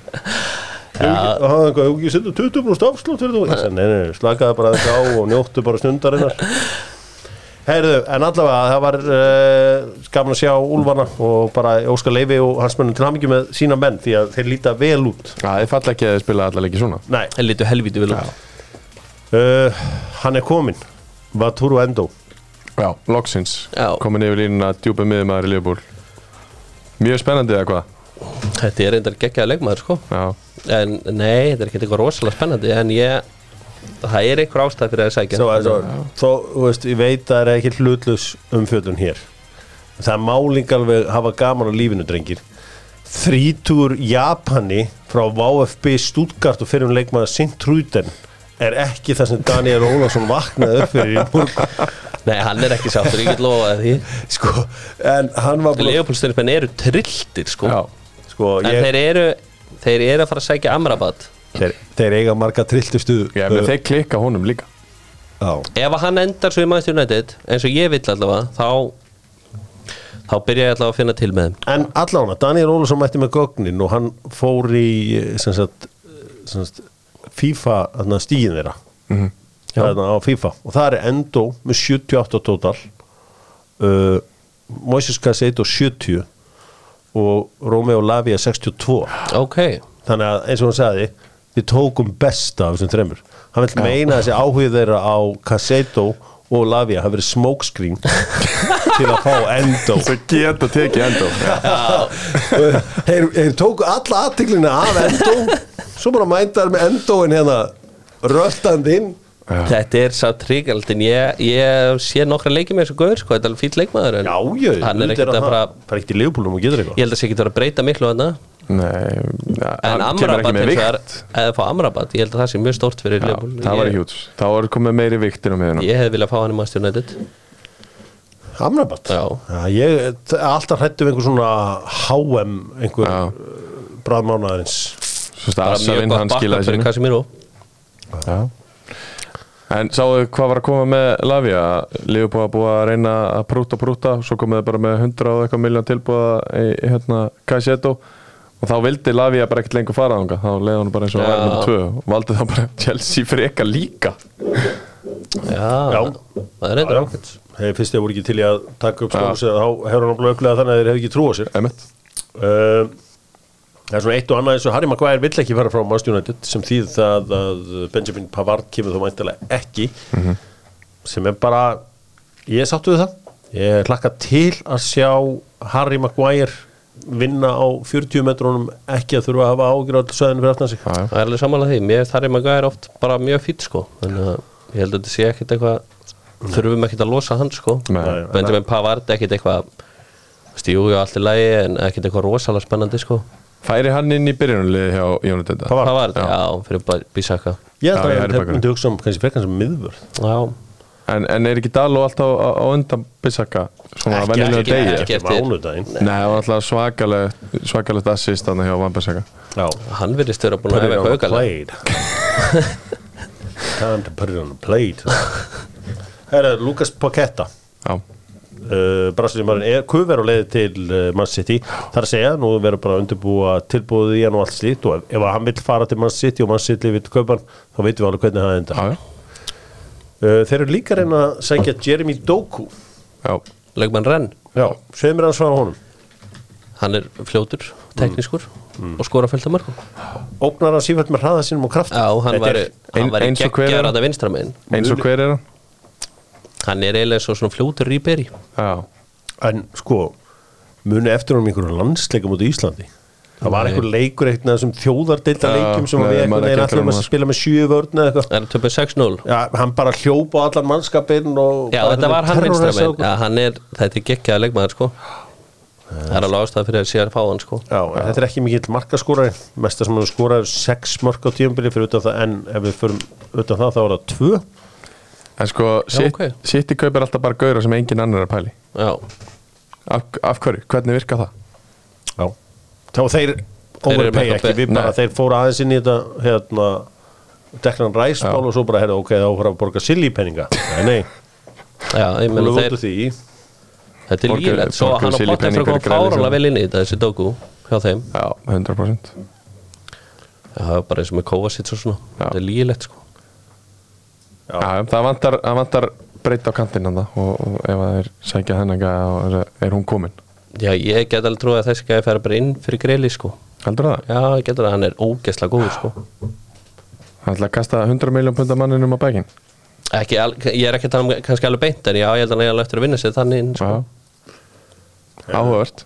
[SPEAKER 1] Já. og hann eitthvað, "Ef ekki setja 20 brúst afslátt fyrir þú, ég sagði, nei, nei, nei, slakaði bara þetta á og njóttu bara stundarinnar Heyrðu, en allavega það var uh, gaman að sjá Úlfarna og bara Óskar Leifi og hans mönnum til hamingi með sína menn því að þeir líta vel út
[SPEAKER 3] Það er falla ekki að þið spila allar leiki svona
[SPEAKER 1] Nei,
[SPEAKER 2] Það lítur helvítið vel út
[SPEAKER 1] uh, hann er komin Vaturu Endo
[SPEAKER 3] Já, loksins,
[SPEAKER 2] Já.
[SPEAKER 3] komin yfir línuna djúpa miðumæður í Liverpool Mjög spennandi eða hvað
[SPEAKER 2] Þetta er reyndar geggjaða leikmaður sko
[SPEAKER 3] Já,
[SPEAKER 2] En nei, þetta er ekki eitthvað rosalega spennandi En ég, það er einhver ástæð fyrir að sækja
[SPEAKER 1] Svo, svo, svo þú veist, ég veit að það er ekki hlutlus umfjöldun hér Það má líka alveg hafa gaman á lífinu, drengir Þrítur Japani frá VFB Stuttgart og fyrir um leikmaða Sintrúten er ekki það sem Daniel Ólafsson vaknaði upp fyrir í morgun
[SPEAKER 2] Nei, hann er ekki sáttur, ég get lofa því
[SPEAKER 1] sko, en hann var búin að-
[SPEAKER 2] Leopoldstjörnismenn eru trilltir sko
[SPEAKER 3] já,
[SPEAKER 1] sko,
[SPEAKER 2] En
[SPEAKER 1] ég,
[SPEAKER 2] þeir eru, þeir eru að fara að sækja Amrabat
[SPEAKER 1] þeir, þeir eiga marga trilltustu eh,
[SPEAKER 3] já uh. þeir klikka honum líka
[SPEAKER 1] á,
[SPEAKER 2] Ef að hann endar svo í Manchester United eins og ég vill allavega þá þá byrja ég allavega að finna til með þeim
[SPEAKER 1] En allána, Daniel Ólafsson mætti með gögnin og hann fór í eh, sem sagt, sem sagt, FIFA þarna, stíin þeirra þarna, á FIFA og það er Endo með 78 total uh, Moises Casseto 70 og Romeo Lavia 62
[SPEAKER 2] Ok,
[SPEAKER 1] þannig að eins og hann sagði við tókum besta af þessum þremur hann vil meina að þessi áhugð þeirra á Casseto og Lavia hafi verið smokescreen til að fá Endo
[SPEAKER 3] Þau geta tekið endó
[SPEAKER 1] Og þeir, þeir tóku alla aðtiklina af Endó svo bara mæntar með Endóin hérna röltandi inn
[SPEAKER 2] þetta er sá tryggald en ég, ég sé nokkra leikið með þessu gaur sko, þetta er alveg fýll leikmaður en
[SPEAKER 1] jájö,
[SPEAKER 2] hann er ekkert að bara
[SPEAKER 1] bara ekkert í liðbúlum og getur
[SPEAKER 2] ég
[SPEAKER 1] eitthvað
[SPEAKER 2] held að sé ekki að vera að breyta miklu hann en
[SPEAKER 3] Nei, ja, hann kemur
[SPEAKER 2] Amrabat
[SPEAKER 3] ekki með
[SPEAKER 2] hins vegar,
[SPEAKER 3] vikt
[SPEAKER 2] eða fá Amrabat ég held að það sé mjög stórt fyrir
[SPEAKER 3] Já,
[SPEAKER 2] Liverpool.
[SPEAKER 3] það var
[SPEAKER 2] Ég-
[SPEAKER 3] hjút Þá er komið meiri viktin á miðuna
[SPEAKER 2] Ég hefði viljað fá hann í Manchester United
[SPEAKER 1] Amrabat
[SPEAKER 2] Já.
[SPEAKER 1] ég er alltaf hrættum einhver svona HM einhver
[SPEAKER 3] Já.
[SPEAKER 1] bræðmánaðarins
[SPEAKER 3] Svo
[SPEAKER 2] bara mjög
[SPEAKER 3] stafsavinn
[SPEAKER 2] gott
[SPEAKER 3] hann
[SPEAKER 2] bakka
[SPEAKER 3] skilaði
[SPEAKER 2] fyrir
[SPEAKER 3] sinni
[SPEAKER 2] Casemiro
[SPEAKER 3] Já. En sáðu hvað var að koma með Lavia? Liverpool var búið að reyna að prúta prúta svo komið þið bara með 100 og eitthvað miljón tilbúða í í hérna Kajeto og þá vildi Lavia bara ekkert lengur fara þangað þá leiði hann bara eins
[SPEAKER 2] Já.
[SPEAKER 3] og að vera með tvö og valdi þá bara Chelsea freka líka
[SPEAKER 2] Já,
[SPEAKER 1] Já.
[SPEAKER 2] það er reyndar ákvæmt
[SPEAKER 1] Hey, fyrst þeir voru ekki til í að taka upp
[SPEAKER 3] Já.
[SPEAKER 1] skóðs þá hefur hann blöðuglega þannig að þeir hefur ekki trú á sér
[SPEAKER 3] Emmett
[SPEAKER 1] Uh, Það er svona eitt og annað eins og Harry Maguire vill ekki fara frá Manchester United sem þýð það að Benjamin Pavard kemur þó mæntilega ekki sem er bara ég sáttu við það ég hlakka til að sjá Harry Maguire vinna á 40 metrunum ekki að þurfa að hafa ágjur alls söðinu fyrir aftan sig
[SPEAKER 3] Já, já.
[SPEAKER 2] Það er alveg samanlega því, mér þarf ég maður gæðir oft bara mjög fýtt sko Þannig að ég held að þetta sé ekkit eitthvað Þurfum ekkit að losa hann sko
[SPEAKER 3] Nei.
[SPEAKER 1] Nei.
[SPEAKER 2] Benjamin Pavard ekkit eitthvað Stíu og allt í lagi en ekkit eitthvað rosalega spennandi sko
[SPEAKER 3] Færi hann inn í byrjunulið hjá Jónatenda
[SPEAKER 1] Pavard.
[SPEAKER 2] Pavard, já, fyrir Bísaka
[SPEAKER 1] ég held
[SPEAKER 3] Já,
[SPEAKER 1] að
[SPEAKER 3] ég er
[SPEAKER 1] það
[SPEAKER 3] bakvörður.
[SPEAKER 1] myndi hugsa um kannski frekar sem miðvörð
[SPEAKER 2] Já,
[SPEAKER 3] en, en er ekki Daló alltaf á, á undan Bissaka svona
[SPEAKER 1] Ekki-
[SPEAKER 3] venjulega
[SPEAKER 2] ekki-
[SPEAKER 3] degi?
[SPEAKER 2] ekki.
[SPEAKER 1] ekki
[SPEAKER 2] eftir-
[SPEAKER 1] mánudaginn
[SPEAKER 3] Nei, það var alltaf svakalegt svakalegt assist hann hjá Van Bissaka
[SPEAKER 1] Já.
[SPEAKER 2] hann virðist vera búin
[SPEAKER 1] Put
[SPEAKER 2] að
[SPEAKER 1] it
[SPEAKER 2] hefa
[SPEAKER 1] on
[SPEAKER 2] eitthvað
[SPEAKER 1] a
[SPEAKER 2] aukalega
[SPEAKER 1] plate Time to put it on a plate Herra, Lucas Paqueta
[SPEAKER 3] Já,
[SPEAKER 1] uh, Brasiliumarinn er kufver og leiði til uh, Man City þar að segja, nú verður bara að undirbúa tilbúið í hann og allt slíkt og ef, ef hann vill fara til Man City og Man City vill kaupa hann þá veitum við alveg hvernig það enda
[SPEAKER 3] já, já,
[SPEAKER 1] uh, Þeir eru líka að reyna að sækja Jeremy Doku
[SPEAKER 3] já.
[SPEAKER 2] Leikmann Renn,
[SPEAKER 1] Já, segir mér að svara honum
[SPEAKER 2] hann er fljótur, teknískur og skora fullt af mörgum
[SPEAKER 1] Ógnar hann sífælt með hraða sínum og kraft
[SPEAKER 2] Já, hann
[SPEAKER 1] Þetta er-
[SPEAKER 2] væri, hann
[SPEAKER 3] Ein-
[SPEAKER 2] væri
[SPEAKER 3] eins og hver er
[SPEAKER 2] geggjar
[SPEAKER 3] hann?
[SPEAKER 2] að það vinstra megin
[SPEAKER 3] Eins og hver er hann?
[SPEAKER 2] Hann er eiginlega svo svona fljótur Ríberi
[SPEAKER 3] Já,
[SPEAKER 1] En sko, muni eftir honum einhverjum landsleikum út í Íslandi Það var einhver leikur eitthvað þessum þjóðardeilda leikjum sem
[SPEAKER 3] nei,
[SPEAKER 1] við
[SPEAKER 3] maður
[SPEAKER 1] einhvern
[SPEAKER 3] er
[SPEAKER 1] veginn
[SPEAKER 3] ekki eftir
[SPEAKER 1] allir
[SPEAKER 3] honum,
[SPEAKER 1] að spila með sjö vörn eða eitthvað
[SPEAKER 2] Það er töpuð 6-0
[SPEAKER 1] Já, hann bara hljópa á allan mannskapinn og
[SPEAKER 2] Já,
[SPEAKER 1] bara
[SPEAKER 2] þetta var hann
[SPEAKER 1] terrorisa
[SPEAKER 2] vinstra megin
[SPEAKER 1] okkur.
[SPEAKER 2] Já, hann er, þetta er geggjaða leikmaður sko Það er alveg ástæða fyrir að sé að fá hann sko
[SPEAKER 1] Já, en þetta er ekki mikill markaskórari Mesta sem hann skoraði er sex mörk á tíumbili fyrir utan það, en ef við förum utan það þá er það tvö
[SPEAKER 3] en sko City
[SPEAKER 2] ok.
[SPEAKER 3] okay. kaupir alltaf bara gauðra sem engin annar er að pæli
[SPEAKER 2] Já,
[SPEAKER 3] af, af hverju, hvernig virka það?
[SPEAKER 1] Já Þá þeir
[SPEAKER 2] eru
[SPEAKER 1] overpay
[SPEAKER 2] með
[SPEAKER 1] ekki,
[SPEAKER 2] eitthvað-
[SPEAKER 1] við bara,
[SPEAKER 3] Nei.
[SPEAKER 1] þeir fóru aðeins inn í þetta hérna, deknan ræsbál og svo bara, heyrðu, ok, þá fóru að borga silly peninga Nei, nei,
[SPEAKER 2] já, ég
[SPEAKER 1] hún
[SPEAKER 2] meina
[SPEAKER 1] er út
[SPEAKER 2] þeir
[SPEAKER 1] úr því
[SPEAKER 2] Þetta er
[SPEAKER 3] Borgu-
[SPEAKER 2] lífilegt, svo
[SPEAKER 3] borguðu
[SPEAKER 2] hann á
[SPEAKER 3] Silly
[SPEAKER 2] bótt
[SPEAKER 3] Penny
[SPEAKER 2] eftir að koma
[SPEAKER 3] fyrir græði
[SPEAKER 2] fárálega
[SPEAKER 3] sem-
[SPEAKER 2] vel inn í þetta þessi Doku hjá þeim
[SPEAKER 3] Já, 100%
[SPEAKER 2] Já, það er bara eins og með Kovacic og svona
[SPEAKER 3] Já.
[SPEAKER 2] Þetta er lífilegt sko
[SPEAKER 3] Já, það vantar, það vantar breyta á kantinn hann og, og ef það er sækja þennan gæja þá er, er hún komin
[SPEAKER 2] Já, ég get alveg trúið að þessi gæði færa bara inn fyrir greli sko
[SPEAKER 3] heldur það?
[SPEAKER 2] Já, ég get alveg að hann er ógeðslega góður sko
[SPEAKER 3] hann ætla að kasta 100 miljón pundar manninum á bækin
[SPEAKER 2] ekki, al- Ég er ekki að tala um kannski alveg beint en já, ég held að hann er alveg eftir að vinna sér þannig inn sko.
[SPEAKER 3] Já. Sko. áhugavert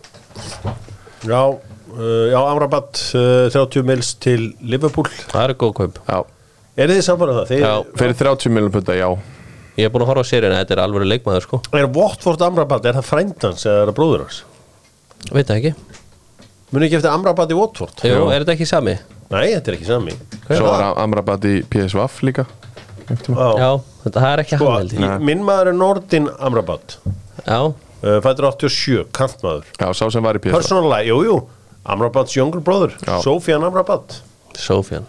[SPEAKER 1] Já, uh, já Amrabat uh, 30 mils til Liverpool
[SPEAKER 2] Það eru góð kaup
[SPEAKER 3] já.
[SPEAKER 1] Er þið samfarað það? Þið
[SPEAKER 2] Já.
[SPEAKER 3] fyrir 30 miljón pundar, já
[SPEAKER 2] Ég er búin að horfa á sérina, þetta er alvöru leikmaður sko
[SPEAKER 1] Er Watford Amrabat, er það frænd hans eða er það bróður hans?
[SPEAKER 2] Veit það ekki
[SPEAKER 1] Muni ekki eftir Amrabat í Watford?
[SPEAKER 2] Jú,
[SPEAKER 3] Jú.
[SPEAKER 2] er þetta ekki sami?
[SPEAKER 1] Nei, þetta er ekki sami
[SPEAKER 3] svo var Am- Amrabat í PSVaf líka
[SPEAKER 1] Já,
[SPEAKER 2] Já, þetta það er ekki
[SPEAKER 1] Sko,
[SPEAKER 2] hann held ég
[SPEAKER 1] í- minn maður er Nordin Amrabat
[SPEAKER 2] Já,
[SPEAKER 1] uh, Fættur 87, kantmaður
[SPEAKER 3] já, sá sem var í PSVaf
[SPEAKER 1] Personalega, jú, jú Amrabats younger brother,
[SPEAKER 3] Já.
[SPEAKER 1] Sofian Amrabat
[SPEAKER 2] Sofjan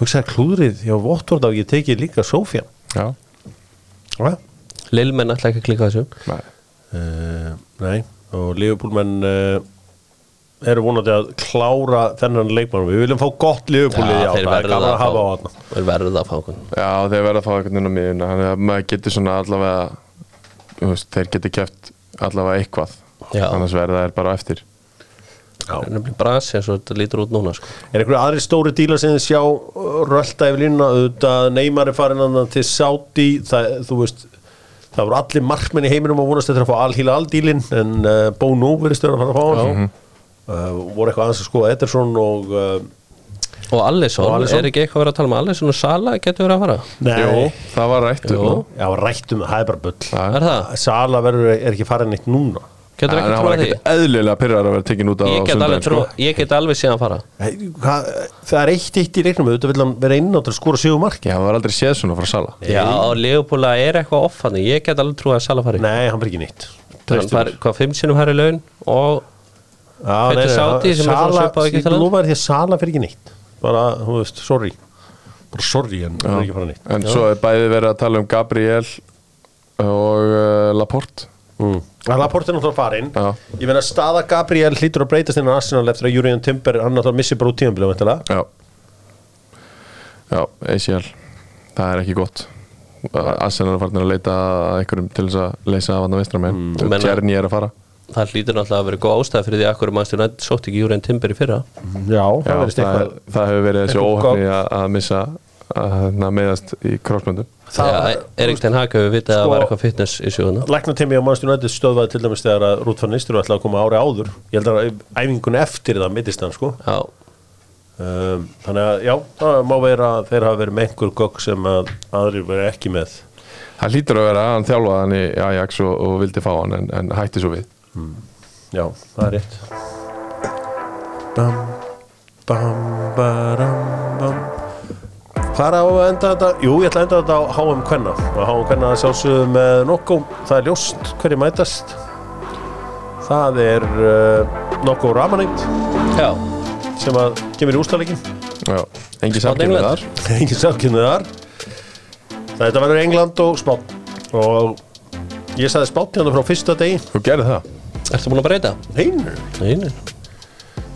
[SPEAKER 1] Hugsaði klúðrið, já, Watford á ég tekið líka Sofian
[SPEAKER 3] já,
[SPEAKER 1] Hva?
[SPEAKER 2] Lilmenn ætla ekki að klika þessu
[SPEAKER 3] Nei.
[SPEAKER 1] Uh, nei, og Liverpoolmenn uh, eru vonandi að klára þennan leikmann Við viljum fá gott Liverpoolið, já,
[SPEAKER 2] þeir
[SPEAKER 1] það er
[SPEAKER 2] verða
[SPEAKER 1] gaman að hafa á
[SPEAKER 2] fá-
[SPEAKER 1] hann
[SPEAKER 2] Þeir verða að fá okkur
[SPEAKER 3] Já, þeir verða að fá einhvern veginn á miðuna þannig að maður getur svona allavega þú veist, þeir getur kæft allavega eitthvað
[SPEAKER 2] Já.
[SPEAKER 3] annars verða þeir bara á eftir
[SPEAKER 2] Það er nefnilega brasi eins og þetta lítur út núna sko.
[SPEAKER 1] Er einhverju aðri stóri dílar sem þið sjá uh, rölda yfir línuna, auðvitað Neymar er farin annan til Saudi það, þú veist, það voru allir markmenn í heiminum að vonast eftir að fá alhýla aldílin en uh, Bó Nú verið stöður að fara að fá hann uh, voru eitthvað aðeins að skoða Ederson og uh,
[SPEAKER 2] Og Alisson,
[SPEAKER 1] Og Alisson.
[SPEAKER 2] er ekki eitthvað að vera að tala um Alisson og Sala getur verið að fara
[SPEAKER 3] Jú,
[SPEAKER 1] Nei,
[SPEAKER 3] það var rætt
[SPEAKER 2] Jú.
[SPEAKER 3] um
[SPEAKER 1] já, rættum, það er bara bull
[SPEAKER 2] Er það?
[SPEAKER 1] Sala verður, er ekki farin eitt núna
[SPEAKER 3] það
[SPEAKER 2] Getur
[SPEAKER 3] en
[SPEAKER 2] ekki
[SPEAKER 3] það var
[SPEAKER 2] trúið því
[SPEAKER 3] ekkert eðlilega pyrrar að vera tekin út á
[SPEAKER 2] Ég get alveg,
[SPEAKER 3] sundaginn
[SPEAKER 2] trú,
[SPEAKER 3] sko.
[SPEAKER 2] ég get alveg síðan fara
[SPEAKER 1] Hey, hvað, Það er eitt eitt í leiknum auðvitað vil hann vera inn á til að skora sjöfum mark
[SPEAKER 3] Já, það var aldrei séð svona frá sala
[SPEAKER 2] Já, og Leopold er eitthvað offandi Ég get alveg trúið að Sala fari
[SPEAKER 1] Nei, hann verður ekki neitt
[SPEAKER 2] Hann fari hvað fimm sinnum hærri laun og
[SPEAKER 1] Já,
[SPEAKER 2] Þetta er Saudi sem er svona
[SPEAKER 1] Sala,
[SPEAKER 2] svipað og ekki
[SPEAKER 1] ég
[SPEAKER 2] talað.
[SPEAKER 1] lofaði því að Sala fyrir ekki neitt bara, þú veist, sorry bara sorry, en það er ekki að fara neitt
[SPEAKER 3] En svo er bæði verið að tala um Gabriel og uh, Laporte
[SPEAKER 1] mm. Það er portinu þá farin
[SPEAKER 3] Já.
[SPEAKER 1] ég meina staða Gabriel hlýtur að breytast innan Arsenal eftir að Júriðan Timber, hann náttúrulega missi bara út tíðanbíla væntanlega.
[SPEAKER 3] Já Já, ACL Það er ekki gott Arsenal er farin að leita að einhverjum til þess að leysa af hann að vestra með
[SPEAKER 2] Þú meina-
[SPEAKER 3] Tjerni er að fara
[SPEAKER 2] það hlýtur náttúrulega að vera góð ástæð fyrir því að hverju mannstu nætt sótt ekki Júriðan Timber í fyrra
[SPEAKER 1] Já,
[SPEAKER 3] Já,
[SPEAKER 1] það verðist
[SPEAKER 3] það,
[SPEAKER 1] eitthvað
[SPEAKER 3] er- það hefur verið þessi
[SPEAKER 1] eitthvað
[SPEAKER 3] óhafni að, að missa að hérna, meiðast í krossmöndu
[SPEAKER 1] Það-
[SPEAKER 2] Þegar Erik Ten Hag hefur vitað að
[SPEAKER 1] Sko-
[SPEAKER 2] það var eitthvað fitness í sjöðuna
[SPEAKER 1] Lækna tími á mannstjónu ætti stöðvaði til dæmis þegar að Rútfann Nistur ætlaði að koma ári áður ég held að æfingun eftir það mittist hann sko
[SPEAKER 2] Já,
[SPEAKER 1] um, þannig að já, það má vera að þeir hafa verið með einhver gögg sem að aðrir verið ekki með
[SPEAKER 3] Það hlýtur að vera að hann þjálfaði hann í Ajax og, og vildi fá hann en, en hætti svo við
[SPEAKER 1] já, það er rétt bam, bam, baram, bam Hvað er á að enda þetta? Jú, ég ætla að enda þetta á HM Kvenna og HM Kvenna sjálfsögðu með Nokko það er ljóst hverju mætast það er uh, Nokko Ramanengt
[SPEAKER 2] já,
[SPEAKER 1] sem að kemur í úrstæðleikin
[SPEAKER 3] Já, engi
[SPEAKER 2] Spánn,
[SPEAKER 3] samkynni
[SPEAKER 2] England.
[SPEAKER 3] þar
[SPEAKER 1] engin samkynni þar þetta verður England og Spán og ég sagði Spán hérna frá fyrsta degi
[SPEAKER 3] Þú gerði það
[SPEAKER 2] ertu búin að breyta?
[SPEAKER 1] Heinur.
[SPEAKER 2] Nei, nei.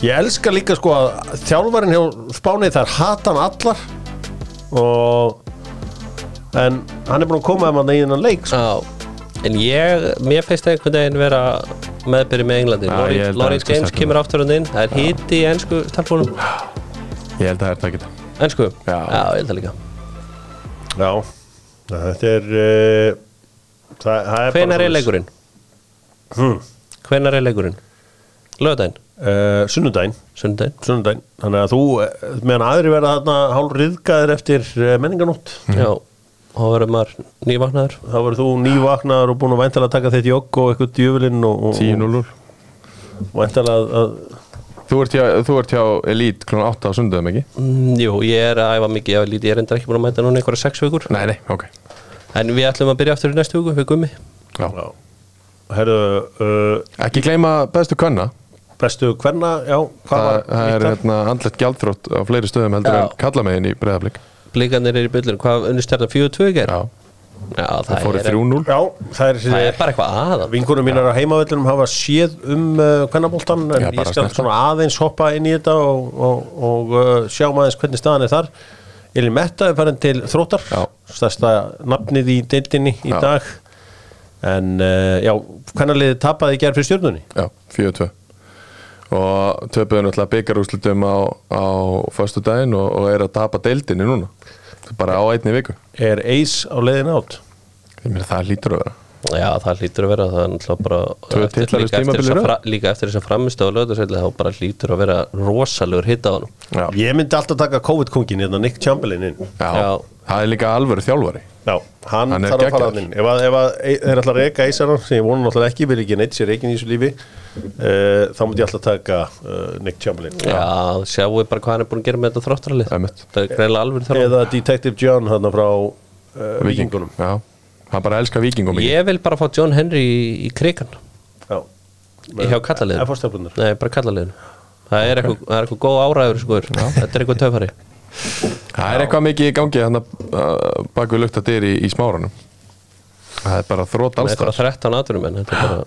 [SPEAKER 1] ég elska líka sko að þjálfarin hjá Spáni þar hata hann allar og en hann er búin að koma um hann eigin hann leik sko.
[SPEAKER 2] Já, en ég, mér finnst einhvern veginn vera meðbyrði með Englandi
[SPEAKER 3] Já, ég
[SPEAKER 2] Laurie
[SPEAKER 3] held að
[SPEAKER 2] Laurie
[SPEAKER 3] ensku
[SPEAKER 2] James
[SPEAKER 3] stelpurnar.
[SPEAKER 2] kemur aftur hann inn það er hiti í ennsku stelpunum
[SPEAKER 3] Ég held að það er það geta
[SPEAKER 2] ennsku, já,
[SPEAKER 3] Já.
[SPEAKER 2] ég held að líka
[SPEAKER 1] já, þetta er uh, það, það er
[SPEAKER 2] hvenar er
[SPEAKER 1] svoleiðis.
[SPEAKER 2] leikurinn? hvenar er leikurinn? lögdæn,
[SPEAKER 1] Eh, sunnudaginn
[SPEAKER 2] sundæn
[SPEAKER 1] sunnudaginn, þannig að þú eh, meðan aðri verða þarna hálf riðgaðir eftir eh, menninganótt
[SPEAKER 3] Mhm.
[SPEAKER 2] já, þá verður maður nývaknaður
[SPEAKER 1] þá verður þú nývaknaður og búin að væntalega taka þitt jogg og eitthvað djöfulinn og, og,
[SPEAKER 3] 10-0
[SPEAKER 1] og væntalega að, að
[SPEAKER 3] Þú ert hjá, þú ert hjá Elite klón 8 á sundum ekki?
[SPEAKER 2] mm, jú, ég er að æfa mikið, ég er lítið, ég er endur ekki búin að mæta núna einhverja sex vikur
[SPEAKER 3] Nei, nei, ok
[SPEAKER 2] en við ætlum að byrja aftur í næstu viku, við gummi
[SPEAKER 3] já.
[SPEAKER 1] já, herðu uh,
[SPEAKER 3] Ekki gleyma bestu kvenna
[SPEAKER 1] bestu hverna, já, hvað
[SPEAKER 3] Það,
[SPEAKER 1] var
[SPEAKER 3] það er
[SPEAKER 1] nýtt þar?
[SPEAKER 3] hérna, andlegt gjaldþrótt á fleiri stöðum heldur
[SPEAKER 2] Já.
[SPEAKER 3] en kallamegin í breyðaflik
[SPEAKER 2] blikanir er í byllur, hvað unnist er það 4-2 í gær?
[SPEAKER 3] Já,
[SPEAKER 2] já, það,
[SPEAKER 3] það fóru
[SPEAKER 2] er,
[SPEAKER 3] 3-0
[SPEAKER 1] já, það er,
[SPEAKER 2] það er bara eitthvað aðan
[SPEAKER 1] vinkunum mínar á heimavellinum hafa séð um uh, hvernaboltan en
[SPEAKER 3] Já, bara
[SPEAKER 1] ég skal
[SPEAKER 3] snerta.
[SPEAKER 1] svona aðeins hoppa inn í þetta og, og, og uh, sjá maður aðeins hvernig um staðan er þar Elin Metta er farin til þróttar
[SPEAKER 3] Já.
[SPEAKER 1] stærsta nafnið í deildinni í
[SPEAKER 3] Já.
[SPEAKER 1] dag en uh, já, kannarliði tapaði í gerð fyrir stjórnunni
[SPEAKER 3] Já, 4-2 og töpuðu náttúrulega byggarúslutum á, á föstu daginn og, og er að tapa deildinni núna bara á einni viku
[SPEAKER 1] er eis á leiðin átt
[SPEAKER 3] ég meina það hlýtur að vera
[SPEAKER 2] Já, það hlýtur að vera, það er náttúrulega
[SPEAKER 3] Tvö
[SPEAKER 2] bara
[SPEAKER 3] titlar í
[SPEAKER 2] líka, eftir
[SPEAKER 3] tímabili í
[SPEAKER 2] þessa
[SPEAKER 3] röð.
[SPEAKER 2] fra, líka eftir þess að framistu á lögðarsvelli þá bara hlýtur að vera rosalegur hitt á honum
[SPEAKER 3] já.
[SPEAKER 1] ég myndi alltaf taka COVID-kongin hérna Nick Chamberlain inn
[SPEAKER 3] Já.
[SPEAKER 2] Já.
[SPEAKER 3] það er líka alvöru þjálfari
[SPEAKER 1] já, hann,
[SPEAKER 3] Hann er
[SPEAKER 1] þarf að fara
[SPEAKER 3] geggjaður.
[SPEAKER 1] hann inn ef, að, ef að, e, þeir ætla að reyka eisaran sem ég vona náttúrulega ekki, vil ekki neitt sér reikin í þessu lífi uh, þá myndi ég alltaf taka uh, Nick Chamberlain
[SPEAKER 2] Já, sjáum við bara hvað hann er búin að gera með þetta þróttaralið
[SPEAKER 3] Einmitt.
[SPEAKER 2] Það er greinlega alveg þar
[SPEAKER 1] eða Detective John hérna frá uh, Vikingunum
[SPEAKER 3] já. hann bara elskar vikingum
[SPEAKER 2] Ég vil bara fá John Henry í, í krigan
[SPEAKER 1] já
[SPEAKER 2] Hjá kallaliðinu
[SPEAKER 1] Eða fórstaflunar.
[SPEAKER 2] Nei, bara kallaliðinu Það er eitthvað, það er eitthvað góð áræður sko Þetta er eitthvað töfari
[SPEAKER 3] það er eitthvað mikið í gangi hann bak við lukta dyr í, í smáranum það er bara þrótt
[SPEAKER 2] Það er bara
[SPEAKER 3] allstað
[SPEAKER 2] 13 aðurum en þetta er bara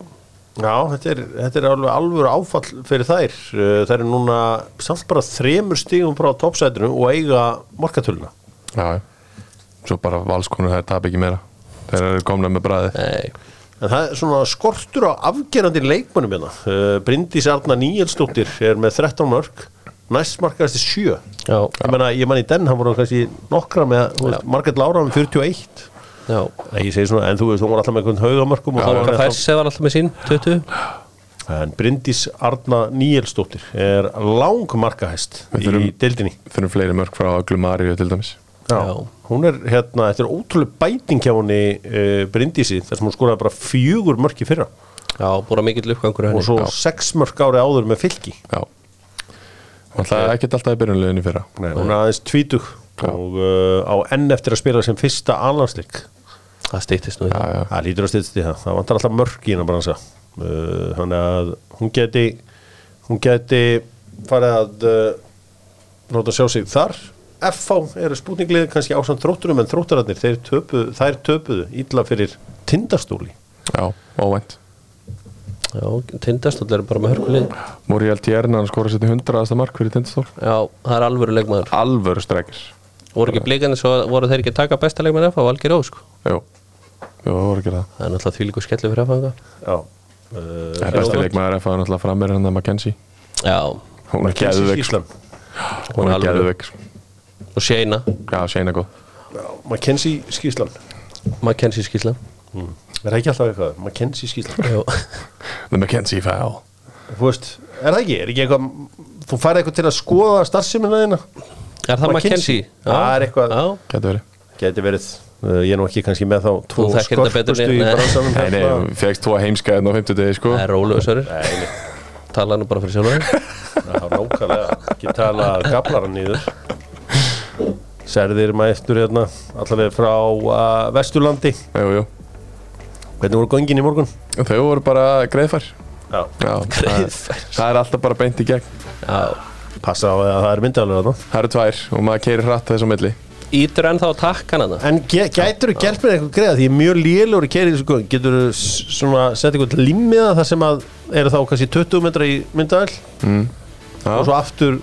[SPEAKER 1] Já, þetta er, þetta er alveg alvöru áfall fyrir þær. Uh, Þær eru núna samt bara þremur stígum frá toppsætinu og eiga markatöluna.
[SPEAKER 3] já, já. svo bara valskonur það er tap ekki meira þeir eru komna með bræði
[SPEAKER 2] Nei,
[SPEAKER 1] En það er svona skortur á afgerandi leikmönnum hérna. Uh, Bryndís Arna Níelsdóttir er með 13 mörg, næst markaðast er 7.
[SPEAKER 2] já,
[SPEAKER 1] Ég menna, ég man í den, hann voru kannski nokkra með, þú veist, markað lára með 41.
[SPEAKER 2] já
[SPEAKER 1] Nei, ég segi svona, en þú veist, hún var alltaf með einhvern haugamörkum og þá
[SPEAKER 2] Það var
[SPEAKER 1] var
[SPEAKER 2] eitthvað
[SPEAKER 1] hann
[SPEAKER 2] fæssi var alltaf með sín, 20
[SPEAKER 1] þá. En Bryndís Arna Níelsdóttir er lang markahæst
[SPEAKER 3] Við
[SPEAKER 1] í
[SPEAKER 3] þurfum-
[SPEAKER 1] deildinni.
[SPEAKER 3] þurfum fleiri mörg frá Glumaríu til dæmis
[SPEAKER 1] Já.
[SPEAKER 2] Já.
[SPEAKER 1] Hún er hérna, þetta er ótrúlega bæting hjá henni uh, Bryndísi þar sem hún skoraði bara fjögur mörk í fyrra
[SPEAKER 2] Já, búin að mikill uppgangur á
[SPEAKER 1] og
[SPEAKER 2] henni
[SPEAKER 1] svo sex mörk ári áður með fylki
[SPEAKER 3] já Það er ekkert alltaf í byrjunleginu fyrra
[SPEAKER 1] Nei, hún er aðeins tvítug
[SPEAKER 3] Já.
[SPEAKER 1] og uh, á enn eftir að spila sem fyrsta anlandsleik
[SPEAKER 2] Það stýttist nú í
[SPEAKER 3] Já,
[SPEAKER 2] það
[SPEAKER 3] já.
[SPEAKER 1] það lítur að styrst í það, það vantar alltaf mörk í hennar bransa uh, hann að hún geti hún geti farið að uh, láta sjá sig þar FH eru spúninglið kannski ásamt þrótturum en þróttararnir, þeir töpuðu, þær töpuðu illa fyrir tindastóli
[SPEAKER 3] Já, óvænt
[SPEAKER 2] Já, tindastóll eru bara með hörkulið
[SPEAKER 3] Muriel Tjernan skora sér til 100 aðasta mark fyrir tindastól
[SPEAKER 2] Já, það er alvöru leikmaður
[SPEAKER 3] Alvöru strekkir
[SPEAKER 2] Voru ekki blikarnir svo voru þeir ekki að taka besta leikmaður FH, Valgeir Ó sko
[SPEAKER 3] Jú, Jú það voru ekki það
[SPEAKER 2] Það er náttúrulega því líku skellu fyrir FH
[SPEAKER 1] Já uh,
[SPEAKER 3] Það er besti leikmaður ef það er náttúrulega framir en það hérna Mackenzie
[SPEAKER 2] Já,
[SPEAKER 3] Hún er
[SPEAKER 1] Mackenzie
[SPEAKER 3] geðveik sko.
[SPEAKER 1] Skíslan
[SPEAKER 3] Hún er
[SPEAKER 2] alvöru.
[SPEAKER 3] geðveik sko.
[SPEAKER 2] og Sheina,
[SPEAKER 3] Já, séna góð
[SPEAKER 1] Mackenzie Skíslan
[SPEAKER 2] Mackenzie skýsla
[SPEAKER 1] Er það ekki alltaf eitthvað? Mackenzie Skíslan
[SPEAKER 2] Já,
[SPEAKER 3] The Mackenzie foul
[SPEAKER 1] Þú veist, er það ekki? Er ekki eitthvað Þú færði eitthvað til að skoða starfsemina þína?
[SPEAKER 2] er það Mackenzie? Já.
[SPEAKER 1] Það er eitthvað
[SPEAKER 2] Já,
[SPEAKER 3] Gæti verið
[SPEAKER 1] Gæti verið uh, Ég er nú ekki kannski með þá Tvo
[SPEAKER 2] Þú þekkir þetta betur
[SPEAKER 1] skorpustu
[SPEAKER 2] en-
[SPEAKER 1] í
[SPEAKER 2] Nei.
[SPEAKER 1] bransanum
[SPEAKER 3] Nei, nei, fegst tvo heimskaðin á 50 degi sko
[SPEAKER 2] það er rólu össarir
[SPEAKER 1] Nei, nei
[SPEAKER 2] Tala nú bara fyrir sjálfur
[SPEAKER 1] Það er nákvæmlega Ekki tala gablaran nýður Serðir mættur hérna Allavega frá uh, Vesturlandi
[SPEAKER 3] Jú, jú
[SPEAKER 1] Hvernig voru göngin í morgun?
[SPEAKER 3] Þau voru bara greiðfær
[SPEAKER 1] Já
[SPEAKER 3] Já,
[SPEAKER 2] Greiðfær.
[SPEAKER 3] Það, það er alltaf bara beint í gegn
[SPEAKER 2] Já
[SPEAKER 1] Passa á að það er myndalur þarna
[SPEAKER 3] Það eru tvær og maður keirir hratt þess á milli
[SPEAKER 2] Ítur ennþá að takka hana
[SPEAKER 1] En ge- gætirðu gert mér eitthvað greiða því ég er mjög lélur í kerið sko. geturðu s- svona sett eitthvað limmiða þar sem að eru þá kannski 20 metra í myndaðal
[SPEAKER 3] Já.
[SPEAKER 1] og svo aftur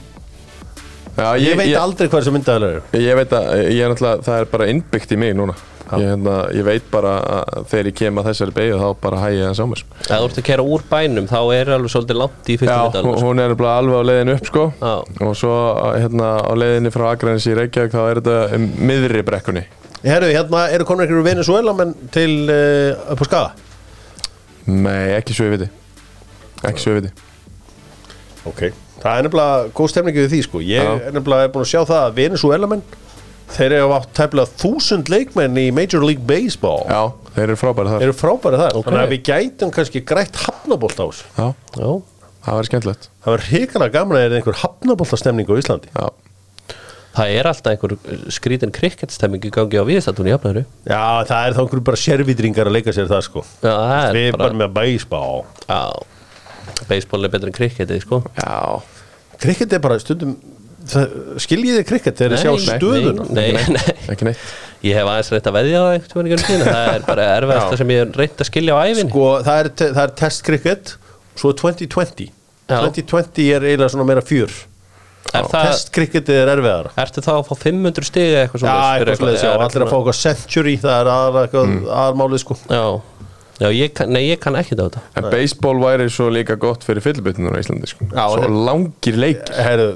[SPEAKER 3] Já,
[SPEAKER 1] ég, veit aldrei hvað þessi myndaðal eru
[SPEAKER 3] Ég veit að, ég er náttúrulega, það er bara innbyggt í mig núna ég, hérna, ég veit bara að þegar ég kem að þessari beigju þá bara hægi ég hans á mér sko.
[SPEAKER 2] Ef þú ert að kæra úr bænum þá er alveg svolítið langt í
[SPEAKER 3] Já,
[SPEAKER 2] fyrstu
[SPEAKER 3] hún-
[SPEAKER 1] sko.
[SPEAKER 2] mitalum
[SPEAKER 3] hún er bara alveg á leiðin upp sko
[SPEAKER 2] Já.
[SPEAKER 3] og svo hérna á leiðinni frá Akranis í Reykjavík þá er þetta um miðri brekkunni
[SPEAKER 1] Herru, hérna eru konar ykkur Venezuela menn til uh, upp á skaga
[SPEAKER 3] Nei, ekki svo ég viti Ekki svo ég viti
[SPEAKER 1] Ok Það er nefnilega góð stemningi við því sko Ég
[SPEAKER 3] Já.
[SPEAKER 1] er nefnilega búin að sjá það að Venezuela menn þeir eru átt tæmlega þúsund leikmenn í Major League Baseball
[SPEAKER 3] Já, þeir eru frábæri þar
[SPEAKER 1] eru frábæri þar Þannig að við gætum kannski grætt hafnabólt á þessu
[SPEAKER 3] Já,
[SPEAKER 2] Já,
[SPEAKER 3] það var skemmtilegt
[SPEAKER 1] Það var hrikalega gaman að það er einhver hafnabóltastemning á Íslandi.
[SPEAKER 3] Já,
[SPEAKER 2] það er alltaf einhver skrítin krikketstemming í gangi á viðstatún í Hafnæru
[SPEAKER 1] Já, það er þá einhver bara sérvitringar að leika sér það sko.
[SPEAKER 2] Já, það
[SPEAKER 1] Við
[SPEAKER 2] er
[SPEAKER 1] bara,
[SPEAKER 2] bara
[SPEAKER 1] með bæsbá.
[SPEAKER 2] Já, baseball er betur en krikketið sko
[SPEAKER 3] já
[SPEAKER 1] Krikket er bara stundum, það, skiljiði krikket þegar þið
[SPEAKER 2] Nei,
[SPEAKER 1] sjá
[SPEAKER 2] nei,
[SPEAKER 1] stöðuna.
[SPEAKER 2] Nei, nei, nei
[SPEAKER 3] Ekki neitt
[SPEAKER 2] Ég hef aðeins reynt að veðja á það einhvern tímann í gegnum tíðina Það er bara erfiðasta sem ég hef reynt að skilja á æfinni
[SPEAKER 1] Sko, það er, te- það er test krikket, svo er 2020.
[SPEAKER 2] Já.
[SPEAKER 1] 2020 er eiginlega svona meira fjör.
[SPEAKER 2] er það,
[SPEAKER 1] Testkrikketið er erfiðara
[SPEAKER 2] ertu þá að fá 500 stig eða eitthvað
[SPEAKER 1] Já,
[SPEAKER 2] svoleiðis fyrir
[SPEAKER 1] eitthvað sliðis, já,
[SPEAKER 2] eða
[SPEAKER 1] allir að fá eitthvað century, það er aðra eitthvað aðarmálið sko
[SPEAKER 2] já, já ég, kann- nei, ég kann ekki þetta
[SPEAKER 3] En baseball væri svo líka gott fyrir fyllbytnur á Íslandi sko.
[SPEAKER 1] Já,
[SPEAKER 3] Svo
[SPEAKER 1] þetta-
[SPEAKER 3] langir leik
[SPEAKER 1] Herru,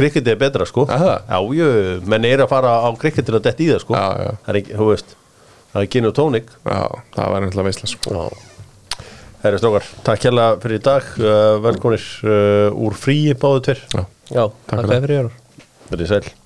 [SPEAKER 1] krikketið er betra sko
[SPEAKER 3] Er það?
[SPEAKER 1] Já, jú, menn er að fara á krikketir að detti í það sko
[SPEAKER 3] Já, já.
[SPEAKER 1] Það er ekki, þú veist, það er gin og tónik
[SPEAKER 3] Já, það væri náttúrulega veisla sko.
[SPEAKER 1] Já Herru strókar, takk hérlega fyrir í dag uh, Velkominir uh, úr fríi báðu tver
[SPEAKER 3] Já.
[SPEAKER 2] já, takk
[SPEAKER 3] fyrir.
[SPEAKER 2] fyrir Jörgur
[SPEAKER 1] Verðið sæl